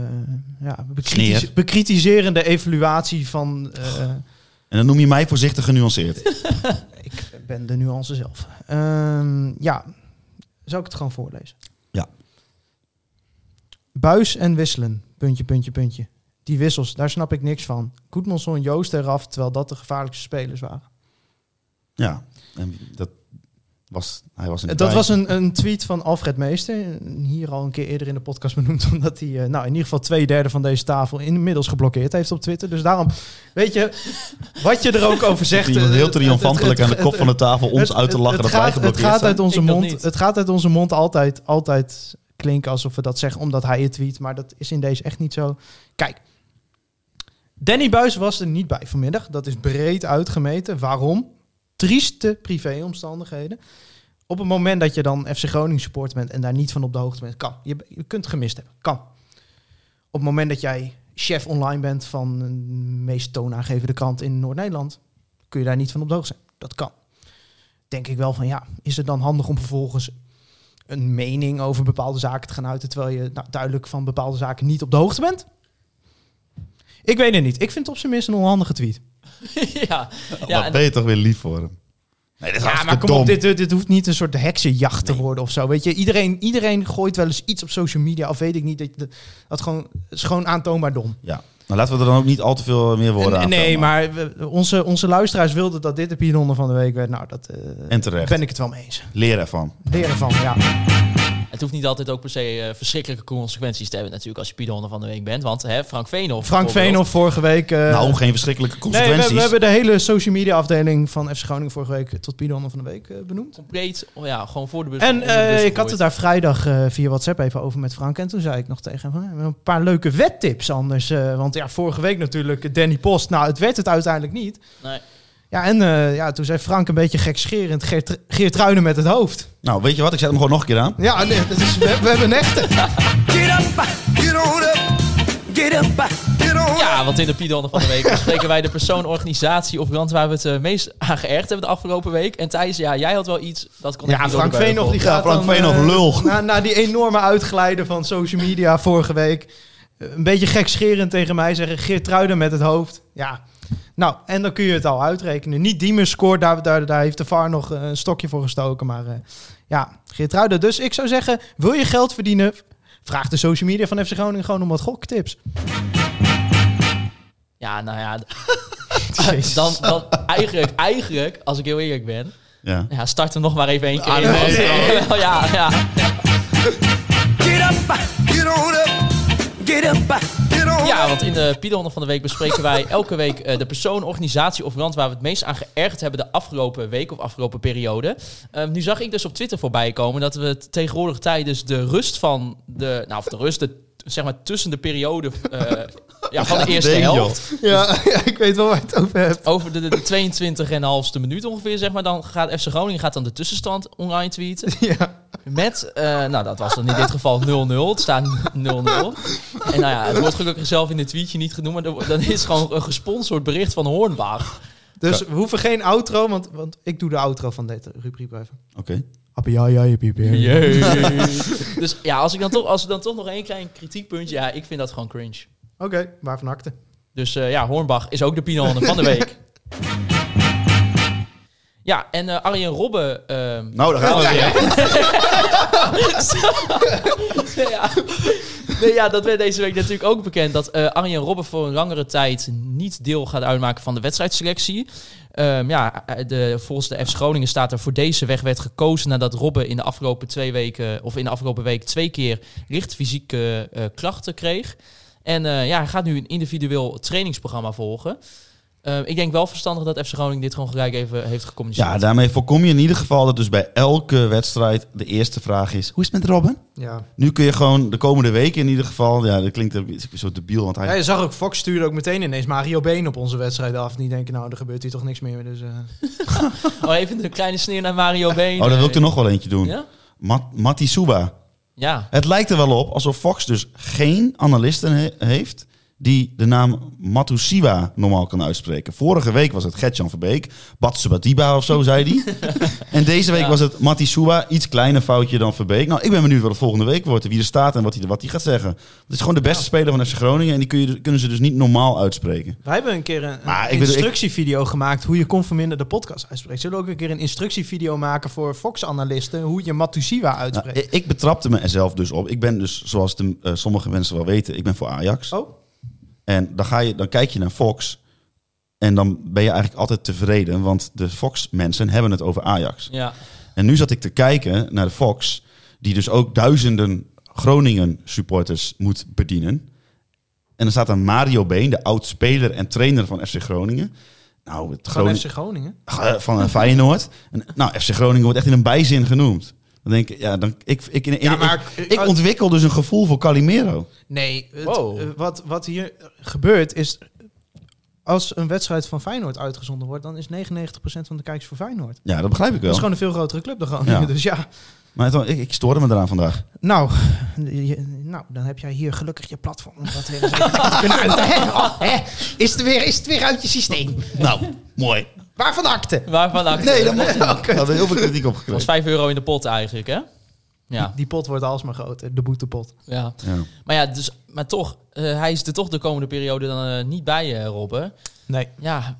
ja, bekritisch-
Sneer.
bekritiserende evaluatie van. eh,
En dan noem je mij voorzichtig genuanceerd.
ik ben de nuance zelf. Ehm, ja, zou ik het gewoon voorlezen?
Ja.
Buis en wisselen, puntje, puntje, puntje. Die wissels, daar snap ik niks van. Goedmanson, Joost eraf, terwijl dat de gevaarlijkste spelers waren.
ja, en dat was, hij was in de
Dat
tijd.
was een, een tweet van Alfred Meester. Hier al een keer eerder in de podcast benoemd. Omdat hij eh, nou, in ieder geval twee derde van deze tafel inmiddels geblokkeerd heeft op Twitter. Dus daarom, weet je, wat je er ook over
Dat
zegt.
iemand
eh,
heel
het- het-
triomfantelijk
het-
aan de kop
het-
van de tafel ons
Het-
uit te
het- het
lachen dat wij
gaat, het
geblokkeerd
gaat
zijn.
uit onze
Ik dat
mond.
niet.
Het gaat uit onze mond altijd, altijd klinken alsof we dat zeggen omdat hij het tweet. Maar dat is in deze echt niet zo. Kijk, Danny Buis was er niet bij vanmiddag. Dat is breed uitgemeten. Waarom? Trieste privéomstandigheden. Op het moment dat je dan FC Groningen supporter bent en daar niet van op de hoogte bent, kan. Je, je kunt het gemist hebben. Kan. Op het moment dat jij chef online bent van een meest toonaangevende krant in Noord-Nederland, kun je daar niet van op de hoogte zijn. Dat kan denk ik wel van ja, is het dan handig om vervolgens een mening over bepaalde zaken te gaan uiten, terwijl je nou, duidelijk van bepaalde zaken niet op de hoogte bent? Ik weet het niet. Ik vind het op zijn minst een onhandige tweet.
ja,
Wat
ja, en
ben je toch weer lief voor hem. Nee, dat is
Ja, maar
hartstikke
kom op,
dom.
dit, dit dit hoeft niet een soort heksenjacht te worden of zo. Weet je, iedereen, iedereen gooit wel eens iets op social media, of weet ik niet. Dat, dat- dat gewoon, is gewoon aantoonbaar dom.
Ja, maar laten we er dan ook niet al te veel eh, meer woorden
En-
aan
en nee,
vuil maken.
maar we- onze, onze luisteraars wilden dat dit de Piedonder van de Week werd. Nou, dat eh,
En terecht.
ben ik het wel mee eens.
Leer ervan.
Leer ervan, ja.
Het hoeft niet altijd ook per se eh, verschrikkelijke consequenties te hebben natuurlijk als je Piedonder van de Week bent. Want hè, Frank Veenhoff
Frank
bijvoorbeeld.
Veenhoff vorige week... eh,
nou, geen verschrikkelijke
nee, we-
consequenties.
we, hebben de hele social media afdeling van FC Groningen vorige week tot Piedonder van de Week eh, benoemd.
Compleet, oh ja, gewoon voor de bus.
En
onder de bus
eh, ik
gegooid.
had het daar vrijdag eh, via WhatsApp even over met Frank. En toen zei ik nog tegen hem, van, "Eh, we hebben een paar leuke wettips anders. eh, want ja, vorige week natuurlijk Danny Post. Nou, het werd het uiteindelijk niet.
Nee.
Ja, en eh, ja, toen zei Frank een beetje gekscherend Geert, Geert Ruinen met het hoofd.
Nou, weet je wat? Ik zet hem gewoon nog een keer aan.
Ja, nee, dat is, we, we hebben een echte.
Get up, get on up, get up, get on up.
Ja, want in de Piedonder van de Week bespreken wij de persoon, organisatie of brand waar we het eh, meest aan geërgd hebben de afgelopen week. En Thijs, ja, jij had wel iets, dat kon
Ja, Frank Veenhoff die
Ja,
gaat
Frank
dan,
Veenhoff,
eh,
lul.
Na, na die enorme uitglijden van social media vorige week. eh, Een beetje gekscherend tegen mij zeggen, Geert Truiden met het hoofd. Ja, nou, en dan kun je het al uitrekenen. Niet Diemer scoort, daar, daar, daar heeft de VAR nog eh, een stokje voor gestoken. Maar eh, ja, Geert Truiden. Dus ik zou zeggen, wil je geld verdienen? Vraag de social media van FC Groningen gewoon om wat goktips.
Ja, nou ja, d-
Jezus.
dan, dan eigenlijk, eigenlijk, als ik heel eerlijk ben,
Ja.
ja, start er nog maar even één keer
Ah,
in.
nee.
Want, eh, ja, ja.
Get up, get on up, get up, get on
ja,
up.
want in de Piedonder van de Week bespreken wij elke week eh, de persoon, organisatie of brand waar we het meest aan geërgerd hebben de afgelopen week of afgelopen periode. Eh, nu zag ik dus op Twitter voorbij komen dat we t- tegenwoordig tijdens de rust van de, nou of de rust, de, zeg maar tussen de periode eh, ja, van de eerste
nee, joh.
helft.
Ja, ja, ik weet wel waar je het over hebt.
over de, de, de 22 en een halfste minuut ongeveer, zeg maar. Dan gaat FC Groningen gaat dan de tussenstand online tweeten.
Ja.
Met, eh, nou dat was dan in dit geval 0-0. Het staat 0-0. En nou ja, het wordt gelukkig zelf in het tweetje niet genoemd. Maar er- dan is het gewoon een gesponsord bericht van Hornbach.
Dus we hoeven geen outro, want, want ik doe de outro van deze rubriek wel even.
Oké.
Appie, ja, ja, jippie, jippie.
Dus ja, als ik dan toch, als we dan toch nog één klein kritiekpuntje. Ja, ik vind dat gewoon cringe.
Oké, waarvan akte?
Dus eh, ja, Hornbach is ook de Pinonnen van de week. Ja, en eh Arjen Robben ehm,
Nou, daar gaan we weer.
Nee, ja. Nee, ja, dat werd deze week natuurlijk ook bekend. Dat eh Arjen Robben voor een langere tijd niet deel gaat uitmaken van de wedstrijdselectie. Ehm, ja, eh, de, volgens de FC Groningen staat er voor deze weg werd gekozen nadat Robben in de afgelopen twee weken, of in de afgelopen week twee keer licht fysieke eh, klachten kreeg. En eh, ja, hij gaat nu een individueel trainingsprogramma volgen. Ehm, ik denk wel verstandig dat FC Groningen dit gewoon gelijk even heeft gecommuniceerd.
Ja, daarmee voorkom je in ieder geval dat dus bij elke wedstrijd de eerste vraag is... Hoe is het met Robin?
Ja.
Nu kun je gewoon de komende weken in ieder geval... Ja, dat klinkt een beetje zo debiel, want hij...
je zag ook, Fox stuurde ook meteen ineens Mario Been op onze wedstrijd af. Die denken, nou, er gebeurt hier toch niks meer. Dus, eh.
Oh, even een kleine sneer naar Mario Been.
Oh, daar wil ik er nog wel eentje doen.
Ja?
Mat Matti Suba.
Ja.
Het lijkt er wel op alsof Fox dus geen analisten he- heeft die de naam Matusiwa normaal kan uitspreken. Vorige week was het Gertjan Verbeek, Batsubatiba of zo, zei hij. en deze week
Ja.
was het Matisuwa, iets kleiner foutje dan Verbeek. Nou, ik ben benieuwd wat het volgende week wordt, en wie er staat en wat hij wat hij gaat zeggen. Het is gewoon de beste speler van FC Groningen en die kun je, kunnen ze dus niet normaal uitspreken.
Wij hebben een keer een, een
Maar ik bedoel, ik-
instructievideo gemaakt hoe je conforminder de podcast uitspreekt. Zullen we ook een keer een instructievideo maken voor Fox-analisten hoe je Matusiwa
Nou,
uitspreekt?
ik, ik betrapte mezelf dus op. Ik ben dus, zoals de, eh, sommige mensen wel weten, ik ben voor Ajax.
Oh,
En dan, ga je, dan kijk je naar Fox. En dan ben je eigenlijk altijd tevreden. Want de Fox-mensen hebben het over Ajax.
Ja.
En nu zat ik te kijken naar de Fox. Die dus ook duizenden Groningen-supporters moet bedienen. En dan staat daar Mario Been, de oud-speler en trainer van FC Groningen. Nou, het
van
Groningen
FC Groningen.
eh, van eh, Feyenoord. En, nou, FC Groningen wordt echt in een bijzin genoemd. Dan denk ik, ja, dan, ik, ik, in- in-
Ja, maar-
ik, ik ontwikkel dus een gevoel voor Calimero.
Nee, het-
Wow.
eh, wat, wat hier gebeurt is... Als een wedstrijd van Feyenoord uitgezonden wordt, dan is 99% van de kijkers voor Feyenoord.
Ja, dat begrijp ik
Dat
wel.
is gewoon een veel grotere club dan Groningen.
Ja.
Dus ja,
Maar het- ik, ik stoorde me eraan vandaag.
Nou, je- nou, dan heb jij hier gelukkig je platform. om dat weer eens even te kunnen uiten, hè? Oh, hè? Is, het weer, is het weer uit je systeem?
Nou, mooi.
Waarvan akte?
Waarvan acte?
Nee, dat mocht niet. Daar hadden heel veel kritiek op
Dat was
gekregen.
5 euro in de pot eigenlijk, hè? Ja,
Die pot wordt alsmaar groter, de boetepot.
ja.
Ja.
Maar ja, dus, maar toch, eh, hij is er toch de komende periode dan eh, niet bij, eh Robben.
Nee.
Ja, ga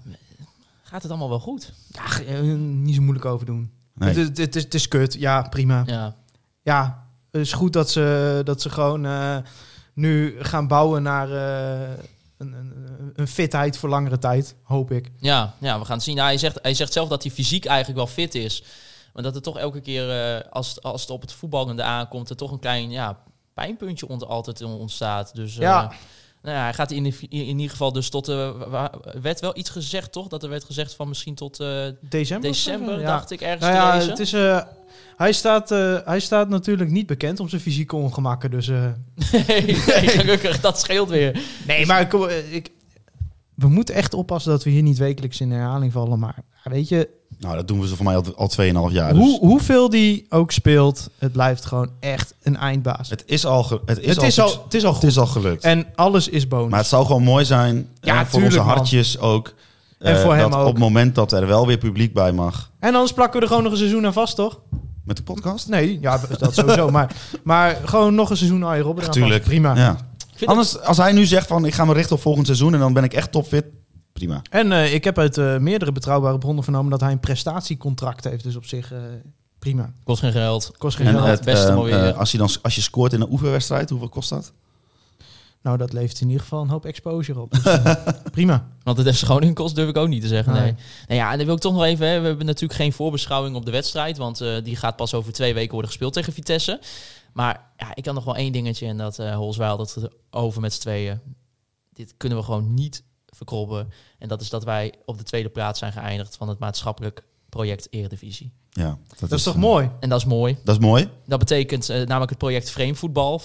gaat het allemaal wel goed.
Ja, eh, niet zo moeilijk over doen.
Nee.
Het, is- het, is, het is kut, ja, prima.
Ja.
Ja, het is goed dat ze, dat ze gewoon eh, nu gaan bouwen naar eh, een, een, een fitheid voor langere tijd, hoop ik.
Ja, ja, we gaan het zien. Nou, hij, zegt, hij zegt zelf dat hij fysiek eigenlijk wel fit is. Maar dat het toch elke keer, eh, als, het, als het op het voetballende aankomt, er toch een klein ja, pijnpuntje ont, altijd ontstaat. Dus eh,
Ja.
nou ja, hij gaat in, in, in ieder geval dus tot... eh, wa- wa- werd wel iets gezegd, toch? Dat er werd gezegd van misschien tot eh,
December? of zo?
december,
Ja.
dacht ik, ergens
Nou
te
ja,
lezen.
het is, eh, hij, staat, eh, hij staat natuurlijk niet bekend om zijn fysieke ongemakken. Dus, eh,
nee, nee, gelukkig, dat scheelt weer.
nee, maar kom, eh, ik, we moeten echt oppassen dat we hier niet wekelijks in herhaling vallen. Maar ja, weet je,
Nou, dat doen we ze voor mij al, al 2,5 jaar.
hoe,
dus
hoeveel die ook speelt, het blijft gewoon echt een eindbaas. Het,
het is al, ge- het is al,
is,
suc-
al, het is al
het
goed.
is al gelukt.
En alles is bonus.
maar het zou gewoon mooi zijn
Ja,
eh, voor
tuurlijk,
onze
man.
hartjes ook.
En
eh,
voor hem
dat
ook.
Op het moment dat er wel weer publiek bij mag.
En anders plakken we er gewoon nog een seizoen aan vast, toch?
Met de podcast?
Nee, ja, dat sowieso. maar, maar gewoon nog een seizoen aan je Robben. eraan
Tuurlijk.
vast. Prima.
Ja.
vind
Anders, als hij nu zegt van ik ga me richten op volgend seizoen en dan ben ik echt topfit. Prima.
En eh, ik heb uit eh, meerdere betrouwbare bronnen vernomen dat hij een prestatiecontract heeft. Dus op zich eh, prima.
Kost geen geld.
Kost geen
En
geld.
het beste
eh,
maar weer.
eh, als, je dan, als je scoort in een oefenwedstrijd, hoeveel kost dat?
Nou, dat levert in ieder geval een hoop exposure op. Dus, eh, prima.
Want het FC Groningen kost, durf ik ook niet te zeggen. Nee.
Nee.
Nou ja, en dan wil ik toch nog even. Hè, we hebben natuurlijk geen voorbeschouwing op de wedstrijd. Want eh, die gaat pas over twee weken worden gespeeld tegen Vitesse. Maar ja, ik had nog wel één dingetje. En dat eh Holzweil, dat het over met z'n tweeën. Dit kunnen we gewoon niet verkrobben. En dat is dat wij op de tweede plaats zijn geëindigd van het maatschappelijk project Eredivisie.
Ja,
Dat is toch
eh,
mooi?
En dat is mooi.
Dat is mooi.
Dat betekent eh, namelijk het project Framevoetbal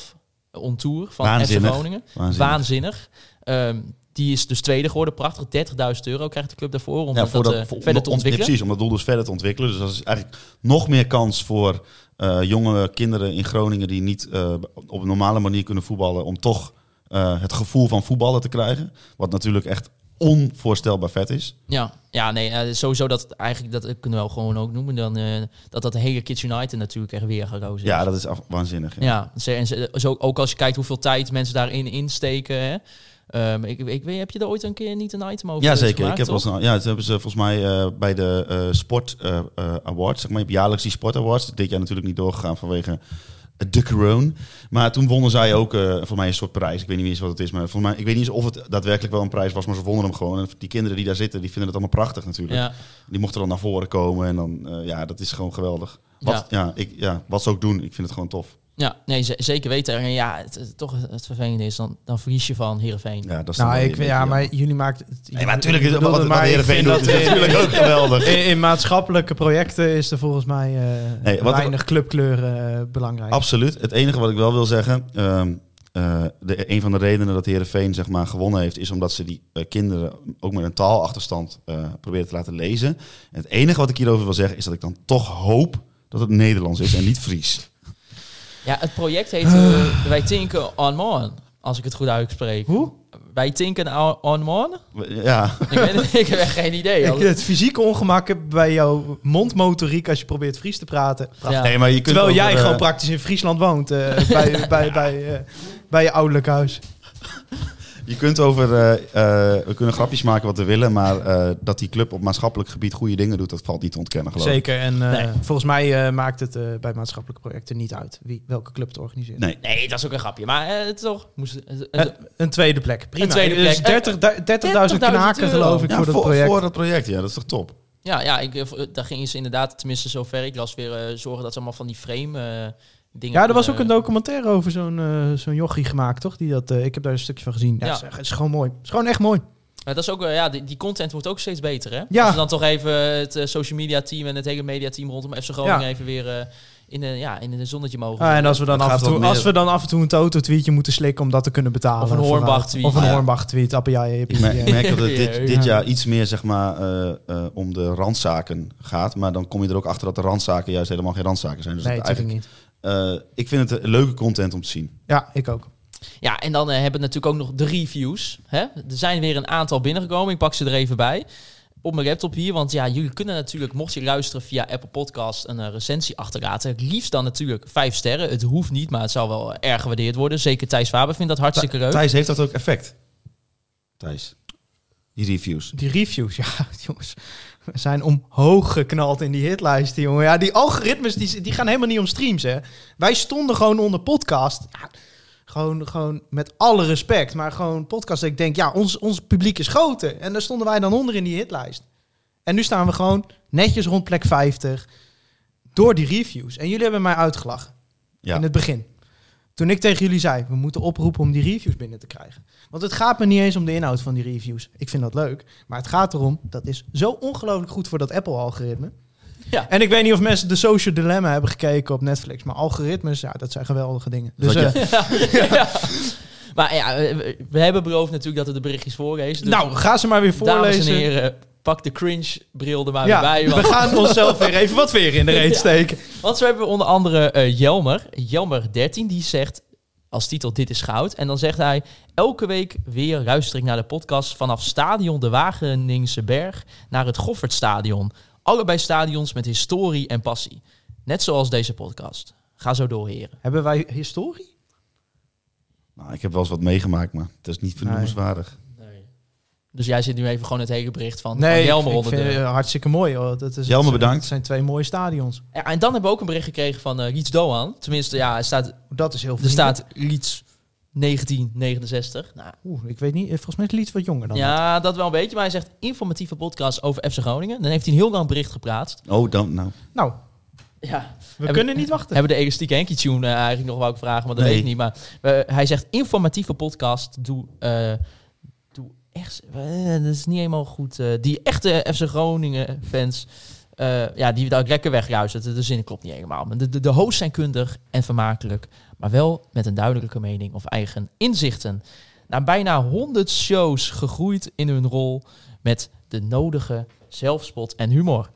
on Tour van
Waanzinnig.
FC Groningen.
Waanzinnig.
Waanzinnig. Ehm, die is dus tweede geworden. Prachtig. 30.000 euro krijgt de club daarvoor om
Ja,
dat,
voor dat,
eh,
voor- om
verder
dat
te
ont- ja,
ontwikkelen.
precies, om dat doel dus verder te ontwikkelen. Dus dat is eigenlijk nog meer kans voor eh, jonge kinderen in Groningen die niet eh, op een normale manier kunnen voetballen, om toch eh, het gevoel van voetballen te krijgen. Wat natuurlijk echt onvoorstelbaar vet is.
Ja, ja nee, eh, sowieso dat eigenlijk, dat eh, kunnen we wel gewoon ook noemen, dan, eh, dat dat de hele Kids United natuurlijk echt weer gekozen is.
Ja, dat is af- waanzinnig. Ja.
Ja, ze- en ze- zo, ook als je kijkt hoeveel tijd mensen daarin insteken. Hè. Ehm, ik, ik, weet- heb je er ooit een keer niet een item over
Ja, zeker.
gemaakt,
ik heb wel
toch?
eens een- ja, dat hebben ze volgens mij eh, bij de eh, Sport eh, eh, Awards. Zeg maar, je hebt jaarlijks die Sport Awards. Dit jaar natuurlijk niet doorgegaan vanwege de corona. Maar toen wonnen zij ook eh volgens mij een soort prijs. Ik weet niet eens wat het is. Maar volgens mij, ik weet niet eens of het daadwerkelijk wel een prijs was. Maar ze wonnen hem gewoon. En die kinderen die daar zitten, die vinden het allemaal prachtig natuurlijk.
Ja,
Die mochten dan naar voren komen. En dan, eh, ja, dat is gewoon geweldig. Wat, ja. ik, ja, wat ze ook doen, ik vind het gewoon tof.
ja, nee, ze- zeker weten. En ja, het, het- toch het, het vervelende is, dan, dan verlies je van Heerenveen.
Ja, dat is
Nou,
dan wel
ik,
weer een
ja,
beetje
maar
jammer.
jullie maakt... het-
Nee, maar natuurlijk is
Ik
het
bedoelde,
wat, wat
maar ik
Heerenveen
vind
doet,
dat
is
in-
natuurlijk ook geweldig.
in, in maatschappelijke projecten is er volgens mij eh,
Nee, wat-
weinig clubkleuren eh, belangrijk.
Absoluut. Het enige wat ik wel wil zeggen. ehm, eh, de, een van de redenen dat Herenveen zeg maar, gewonnen heeft, is omdat ze die eh, kinderen ook met een taalachterstand eh proberen te laten lezen. En het enige wat ik hierover wil zeggen, is dat ik dan toch hoop dat het Nederlands is en niet Fries.
Ja, het project heet eh, Wij Tinken on Morn, als ik het goed uitspreek.
Ah. Hoe?
Wij Tinken on- on Morn?
Ja,
Ik, weet het- ik heb echt geen idee.
Ik, eh, het fysieke ongemak bij jouw mondmotoriek als je probeert Fries te praten.
Ja.
nee, maar je kunt
Terwijl
over,
jij
eh,
gewoon praktisch in Friesland woont. eh, bij, bij, bij, eh, bij je ouderlijk huis.
Je kunt over. eh, eh, we kunnen grapjes maken wat we willen, maar eh, dat die club op maatschappelijk gebied goede dingen doet, dat valt niet te ontkennen, geloof ik.
Zeker. En eh,
Nee.
volgens mij eh, maakt het eh, bij maatschappelijke projecten niet uit wie, welke club het organiseert.
Nee.
Nee, dat is ook een grapje. Maar eh, het toch? Moest, eh,
Eh,
eh,
een tweede plek. Prima.
Een tweede
Dus
plek.
30 du- 30.000
30.000
knaken
euro.
geloof ik
Ja,
voor dat project.
voor dat project, ja, dat is toch top.
ja, ja ik, eh, v- daar gingen ze inderdaad, tenminste zover ik las, weer eh, zorgen dat ze allemaal van die frame eh, dingen...
Ja, er was ook een
kunnen-
documentaire over zo'n eh zo'n jochie gemaakt, toch? Die dat, eh, ik heb daar een stukje van gezien. Ja,
Ja.
Het, is, echt- het is gewoon mooi. Het is gewoon echt mooi.
Maar dat is ook, eh, ja, die, die content wordt ook steeds beter, hè?
Ja.
Als we dan toch even het eh, social media team en het hele media team rondom FC Groningen
Ja.
even weer eh, in, een, ja, in een zonnetje mogen.
Ah, en als we, dan
Het
af en
gaat
toe,
wat meer-
als we dan af en toe een Toto-tweetje moeten slikken om dat te kunnen betalen.
Of een
vooruit.
Hornbach-tweet.
Of een
Ja.
Hornbach-tweet. Appeljaai,
Ik merk, ik merk dat het dit,
Ja.
dit jaar iets meer zeg maar, eh, eh, om de randzaken gaat. Maar dan kom je er ook achter dat de randzaken juist helemaal geen randzaken zijn. Dus
Nee,
dat
natuurlijk
eigenlijk,
niet.
eh, ik vind het een leuke content om te zien.
Ja, ik ook.
Ja, en dan eh, hebben we natuurlijk ook nog de reviews. Hè? Er zijn weer een aantal binnengekomen. Ik pak ze er even bij. Op mijn laptop hier. Want ja, jullie kunnen natuurlijk, mocht je luisteren via Apple Podcast, een eh, recensie achterlaten. Het liefst dan natuurlijk vijf sterren. Het hoeft niet, maar het zou wel eh, erg gewaardeerd worden. Zeker Thijs Faber vindt dat hartstikke leuk.
Thijs heeft dat ook effect. Thijs. Die reviews.
Die reviews, ja, jongens. We zijn omhoog geknald in die hitlijsten, jongen. Ja, die algoritmes die, die gaan helemaal niet om streams, hè. Wij stonden gewoon onder podcast. Ja, gewoon, gewoon met alle respect, maar gewoon podcast. dat Ik denk, ja, ons, ons publiek is groter. En daar stonden wij dan onder in die hitlijst. En nu staan we gewoon netjes rond plek 50 door die reviews. En jullie hebben mij uitgelachen
Ja.
in het begin. Toen ik tegen jullie zei, we moeten oproepen om die reviews binnen te krijgen. Want het gaat me niet eens om de inhoud van die reviews. Ik vind dat leuk. Maar het gaat erom, dat is zo ongelooflijk goed voor dat Apple-algoritme.
Ja.
En ik weet niet of mensen de Social Dilemma hebben gekeken op Netflix. Maar algoritmes, ja, dat zijn geweldige dingen. Dus,
Wat
eh,
Ja. Maar ja, eh, we we hebben beloofd natuurlijk dat het de berichtjes voorlezen. Dus
nou, ga ze maar weer
dames en
voorlezen.
heren, pak de cringe-bril er maar
ja,
weer bij.
we
Want,
gaan onszelf weer even wat weer in de reet
Ja.
steken.
want zo hebben we onder andere eh, Jelmer, Jelmer13, die zegt als titel Dit is Goud. En dan zegt hij, elke week weer luister ik naar de podcast vanaf stadion De Wageningse Berg naar het Goffertstadion. Allebei stadions met historie en passie. Net zoals deze podcast. Ga zo door, heren.
Hebben wij historie?
Nou, ik heb wel eens wat meegemaakt, maar dat is niet vernoemenswaardig.
Dus jij zit nu even gewoon het hele bericht van, van
Nee,
Jelmer
ik
onder
vind
de...
het eh, hartstikke mooi. Hoor. Dat is,
Jelmer,
dat zijn-
bedankt.
dat zijn twee mooie stadions.
Ja, en dan hebben we ook een bericht gekregen van eh Riets Doan. Tenminste, ja, er staat,
Dat is heel
er
veel.
staat Riets 1969. Nou,
Oeh, ik weet niet. eh, Volgens mij is het iets wat jonger dan.
ja, dat wel een beetje. Maar hij zegt informatieve podcast over FC Groningen. Dan heeft hij een heel lang bericht geplaatst.
Oh, dan, nou.
Nou,
Ja.
we kunnen niet wachten.
Hebben de elastieke Henkie Tune eh, eigenlijk nog wou ik vragen, maar dat
Nee.
weet ik niet. Maar eh, hij zegt informatieve podcast. Doe, eh, doe echt... eh, dat is niet helemaal goed. eh, die echte FC Groningen fans... eh, ja, die daar lekker wegruisen. De, de zinnen klopt niet helemaal. Maar de, de, de hosts zijn kundig en vermakelijk. Maar wel met een duidelijke mening of eigen inzichten. Na bijna 100 shows gegroeid in hun rol met de nodige zelfspot en humor.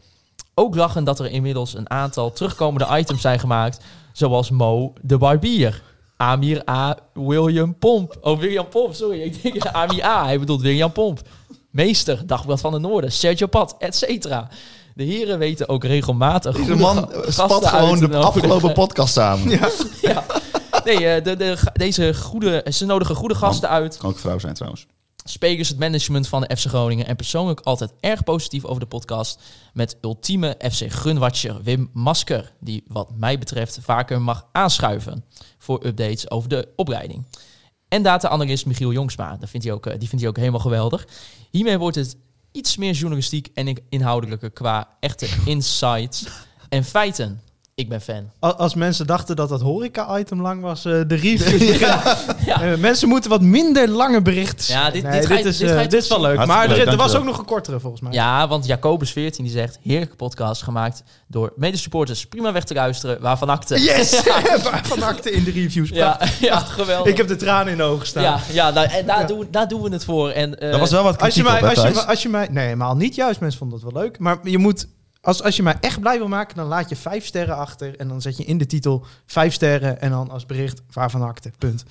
Ook lachen dat er inmiddels een aantal terugkomende items zijn gemaakt, zoals Mo de Barbier. Amir A. William Pomp. Oh, William Pomp, sorry. Ik denk Amir A. Hij bedoelt William Pomp. Meester, Dagblad van de Noorden, Sergio Pat, et cetera. De heren weten ook regelmatig...
Deze
goede
man
ga-
spat
gasten
gewoon
uit te
de
nodigen.
afgelopen podcast samen.
Ja. Nee, eh, de, de, deze goede, ze nodigen goede gasten uit.
Kan ook vrouw zijn trouwens.
Sprekers, het management van de FC Groningen. En persoonlijk altijd erg positief over de podcast. Met ultieme FC Gunwatcher Wim Masker. Die wat mij betreft vaker mag aanschuiven voor updates over de opleiding. En data-analyst Michiel Jongsma. Dat vindt hij ook, eh, die vindt hij ook helemaal geweldig. Hiermee wordt het iets meer journalistiek en in- inhoudelijker qua echte insights en feiten. Ik ben fan.
Al- Als mensen dachten dat dat horeca-item lang was, eh, de review.
Ja.
Eh, mensen moeten wat minder lange berichten.
Ja, dit-
Nee,
dit ga je-
is,
dit
eh,
ga je
dit is wel leuk.
Hartstikke
maar
leuk,
er, er was
dankjewel.
ook nog een kortere volgens mij.
Ja, want Jacobus 14 die zegt: heerlijke podcast gemaakt door medesupporters. Prima weg te luisteren, waarvan akte.
Yes! Van acte in de reviews.
Ja,
Prachtig.
ja, geweldig.
Ik heb de tranen in de ogen staan.
ja, ja, nou, en daar,
Ja.
Doen, daar doen we het voor. En, eh,
Dat was wel wat
Als je,
kritiek
mij,
op, hè,
als, je,
Thijs?
mij- als je mij. Nee, maar al niet juist. Mensen vonden dat wel leuk. Maar je moet. Als, als je mij echt blij wil maken, dan laat je vijf sterren achter. En dan zet je in de titel vijf sterren. En dan als bericht waarvan acte. Punt.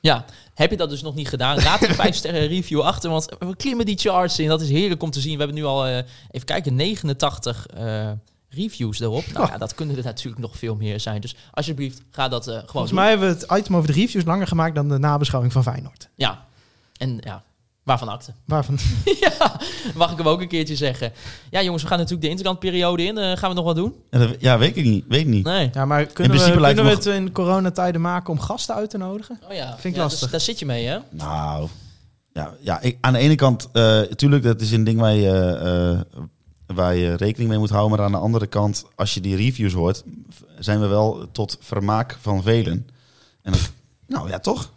ja, heb je dat dus nog niet gedaan? Laat een 5 sterren review achter, want we klimmen die charts in. Dat is heerlijk om te zien. We hebben nu al, eh, even kijken, 89 eh, reviews erop. Nou
Oh.
ja, dat kunnen er natuurlijk nog veel meer zijn. Dus alsjeblieft, ga dat eh, gewoon
Volgens
doen.
mij hebben we het item over de reviews dus langer gemaakt dan de nabeschouwing van Feyenoord.
Ja, en ja, waarvan akte.
Waarvan.
Ja, mag ik hem ook een keertje zeggen. Ja, jongens, we gaan natuurlijk de interlandperiode in. Eh, gaan we nog wat doen?
Ja, dat- Ja, weet ik niet. Weet ik niet.
Nee.
Ja, maar kunnen, we,
principe
kunnen
lijkt
we
me
het in coronatijden maken om gasten uit te nodigen?
Oh ja,
Vind ik
ja,
lastig.
dus daar zit je mee, hè?
Nou, ja, ja ik- aan de ene kant, eh tuurlijk, dat is een ding waar je, eh, waar je rekening mee moet houden. Maar aan de andere kant, als je die reviews hoort, v- zijn we wel tot vermaak van velen. En dan- nou ja, toch?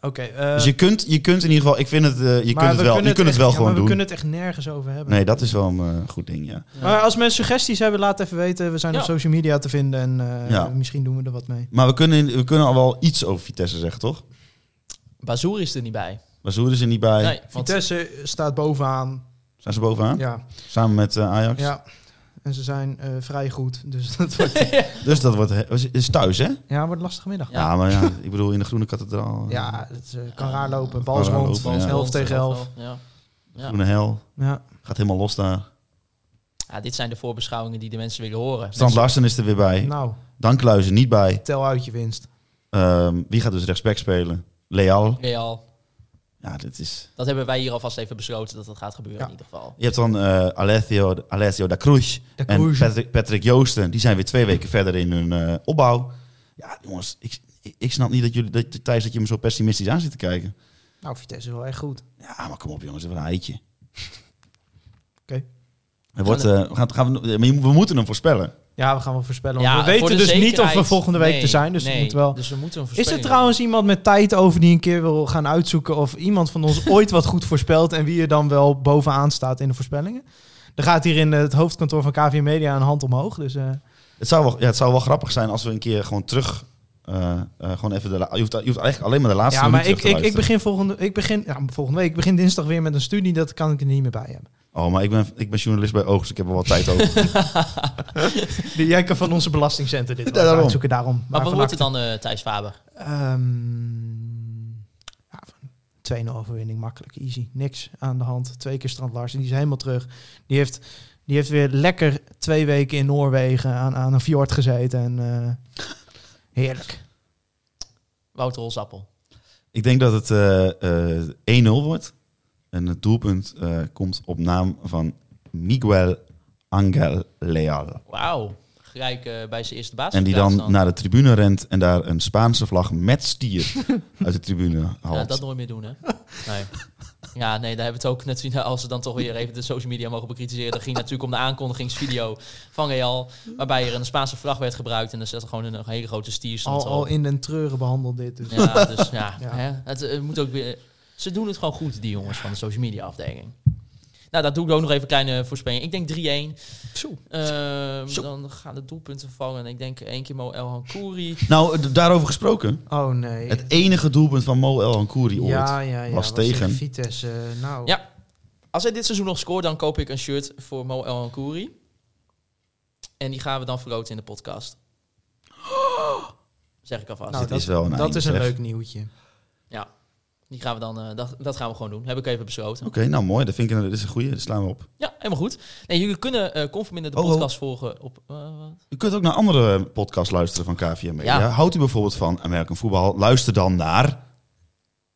Oké. eh,
dus je kunt, je kunt in ieder geval, ik vind het, eh, je kunt het wel, je kunt het wel gewoon
maar we
doen.
kunnen het echt nergens over hebben.
Nee, dat is wel een eh, goed ding, ja.
Maar als mensen suggesties hebben, laat even weten. We zijn
Ja.
op social media te vinden en eh,
Ja.
misschien doen we er wat mee.
Maar we kunnen, we kunnen al wel iets over Vitesse zeggen, toch?
Bazoer is er niet bij.
Bazoer is er niet bij.
Nee, want
Vitesse staat bovenaan.
Zijn ze bovenaan?
Ja,
Samen met eh, Ajax.
ja. En ze zijn eh, vrij goed. Dus dat wordt,
Dus dat wordt, he- is- is thuis, hè? Ja,
ja, wordt een lastige middag.
Ja.
Ja,
maar ja, ik bedoel, in de Groene Kathedraal. eh,
het eh, kan raar lopen. Bal is
Kan raar
rond,
lopen, ja.
elf tegen elf.
Ja. Ja.
Groene Hel.
Ja.
Gaat helemaal los daar.
Ja, dit zijn de voorbeschouwingen die de mensen willen horen.
Strand Larsen is er weer bij.
Nou,
Dankluizen niet bij.
tel uit je winst.
Ehm, wie gaat dus rechtsback spelen? Leal.
Real.
Ja, Ja, dat is...
Dat hebben wij hier alvast even besloten dat dat gaat gebeuren
Ja.
in ieder geval.
Je hebt dan eh Alessio, Alessio da Cruz
Da
en
Cruz.
Patrick, Patrick Joosten. Die zijn weer twee weken verder in hun eh, opbouw. Ja, jongens, ik, ik- ik snap niet dat jullie, dat, Thijs, dat je me zo pessimistisch aan zit te kijken.
Nou, Vitesse is wel echt goed.
Ja, maar kom op jongens, even een eitje.
Oké.
Er wordt, eh, we gaan, gaan we, maar je moet- we moeten hem voorspellen.
Ja, we gaan wel voorspellen. want
Ja,
we
voor de
weten dus niet of we
zekerheid-
volgende week
nee,
er zijn. Dus we
nee,
moeten wel.
Dus we moeten een
Is er
voorspelling
trouwens iemand met tijd over die een keer wil gaan uitzoeken of iemand van ons ooit wat goed voorspelt en wie er dan wel bovenaan staat in de voorspellingen? Er gaat hier in het hoofdkantoor van KV Media een hand omhoog. Dus eh,
Het zou, wel, ja, het zou wel grappig zijn als we een keer gewoon terug... eh, eh, gewoon even de, la- je, hoeft, je hoeft eigenlijk alleen maar de laatste
ja, maar
minuut
ik,
terug
ik,
te
ik
luisteren.
begin volgende, ik begin, ja, volgende week. Ik begin dinsdag weer met een studie. Dat kan ik er niet meer bij hebben.
Oh, maar ik ben, ik ben journalist bij Oogst, ik heb er wel tijd over.
Die- Jij kan van onze belastingcenter dit wel
daarom.
uitzoeken daarom.
Maar wat wordt
vannacht-
het dan, eh, Thijs Faber?
Ehm, ja, van 2-0 overwinning, makkelijk, easy. Niks aan de hand. Twee keer Strand Larsen, die is helemaal terug. Die heeft, die heeft weer lekker twee weken in Noorwegen aan, aan een fjord gezeten. En, eh, heerlijk.
Wouter Holzappel.
Ik denk dat het eh, eh, 1-0 wordt. En het doelpunt eh, komt op naam van Miguel Angel Leal.
Wauw. Gelijk eh, bij zijn eerste baas.
En die dan naar de tribune rent en daar een Spaanse vlag met stier uit de tribune
Ja,
haalt.
dat nooit meer doen, hè? Nee. Ja, nee, daar hebben we het ook net zien. Als we dan toch weer even de social media mogen bekritiseren. Dat ging natuurlijk om de aankondigingsvideo van Real. Waarbij er een Spaanse vlag werd gebruikt. En er zat gewoon een, een hele grote stier stond
Al,
erop.
al in den treuren behandeld dit. Dus.
Ja, dus ja.
Ja.
Hè? Het, eh, moet ook weer, ze doen het gewoon goed, die jongens van de social media afdeling. Nou, dat doe ik ook nog even een kleine voorspelling. Ik denk 3-1. Ehm, dan gaan de doelpunten vallen. En ik denk één keer Mo El Hankouri.
Nou, d- daarover gesproken.
Oh nee.
Het enige doelpunt van Mo El Hankouri ooit
ja, ja, ja.
was
wat tegen
tegen...
Vitesse. eh, Nou,
Ja. Als hij dit seizoen nog scoort, dan koop ik een shirt voor Mo El Hankouri. En die gaan we dan verloten in de podcast. Zeg ik alvast.
Nou,
Dit is wel een
dat
eind,
is een
zeg.
leuk nieuwtje.
ja. Die gaan we dan, eh, dat, dat gaan we gewoon doen. Heb ik even besloten.
Oké, nou mooi. Dat vind ik een, dat is een goeie. Dat slaan we op.
Ja, helemaal goed. Nee, jullie kunnen eh Conforminder de
Oh, oh.
podcast volgen op... eh, wat?
U kunt ook naar andere eh, podcasts luisteren van KVM Media.
Ja.
Houdt u bijvoorbeeld van American voetbal? Luister dan naar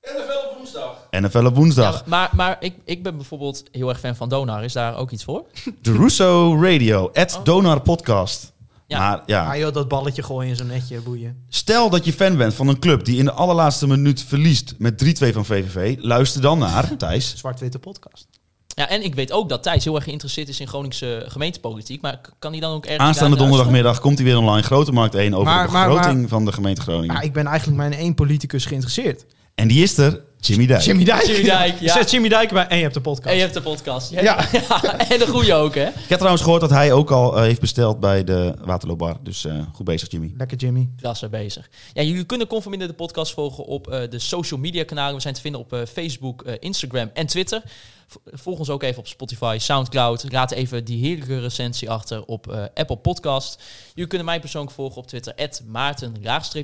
NFL op woensdag.
NFL op woensdag.
Ja, maar maar ik, ik ben bijvoorbeeld heel erg fan van Donar. Is daar ook iets voor?
De Russo Radio, at
Oh.
Donar Podcast.
Ja.
Maar ja,
Ah joh, dat balletje gooien in zo'n netje, boeien.
stel dat je fan bent van een club die in de allerlaatste minuut verliest met 3-2 van VVV. Luister dan naar, Thijs.
Zwart-witte podcast.
Ja, en ik weet ook dat Thijs heel erg geïnteresseerd is in Groningse gemeentepolitiek. Maar k- kan hij dan ook ergens...
Aanstaande
naar-
donderdagmiddag komt hij weer online. Grote Markt 1 over
Maar-
de
maar-
begroting van de gemeente Groningen.
Ja, Ah, ik ben eigenlijk mijn één politicus geïnteresseerd.
En die is er, Jimmy Dijk.
Jimmy Dijk.
Jimmy Dijk, ja.
Zet Jimmy Dijk bij en je hebt de podcast.
En je hebt de podcast. Ja.
Ja.
en de goede ook, hè?
Ik heb trouwens gehoord dat hij ook al eh, heeft besteld bij de Waterloobar. Dus eh, goed bezig, Jimmy.
Lekker Jimmy.
Klasse bezig. Ja, jullie kunnen Conforminder de podcast volgen op eh, de social media kanalen. We zijn te vinden op eh, Facebook, eh, Instagram en Twitter. V- Volg ons ook even op Spotify, Soundcloud. Laat even die heerlijke recensie achter op eh, Apple Podcast. Jullie kunnen mij persoonlijk volgen op Twitter. Maarten,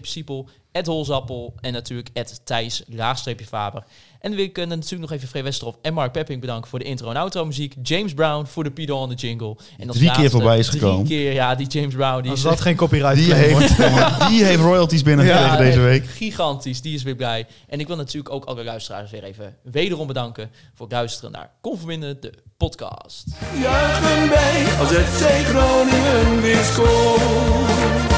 Siepel. Holzappel. En natuurlijk Thijs, Faber. En we kunnen natuurlijk nog even Free Westerhof en Mark Pepping bedanken voor de intro en outro muziek. James Brown voor de Pido on the Jingle. En als
Drie keer
laatste-
voorbij is
Drie
gekomen.
keer, ja, die James Brown. Die
Als
is
dat geen copyright
Die
claim wordt.
heeft, jongen, die heeft royalties binnengekregen
Ja,
deze
nee,
week.
Gigantisch, die is weer blij. En ik wil natuurlijk ook alle luisteraars weer even wederom bedanken voor het luisteren naar Conforminder, de podcast.
Juichen bij als het FC Groningen weer scoort.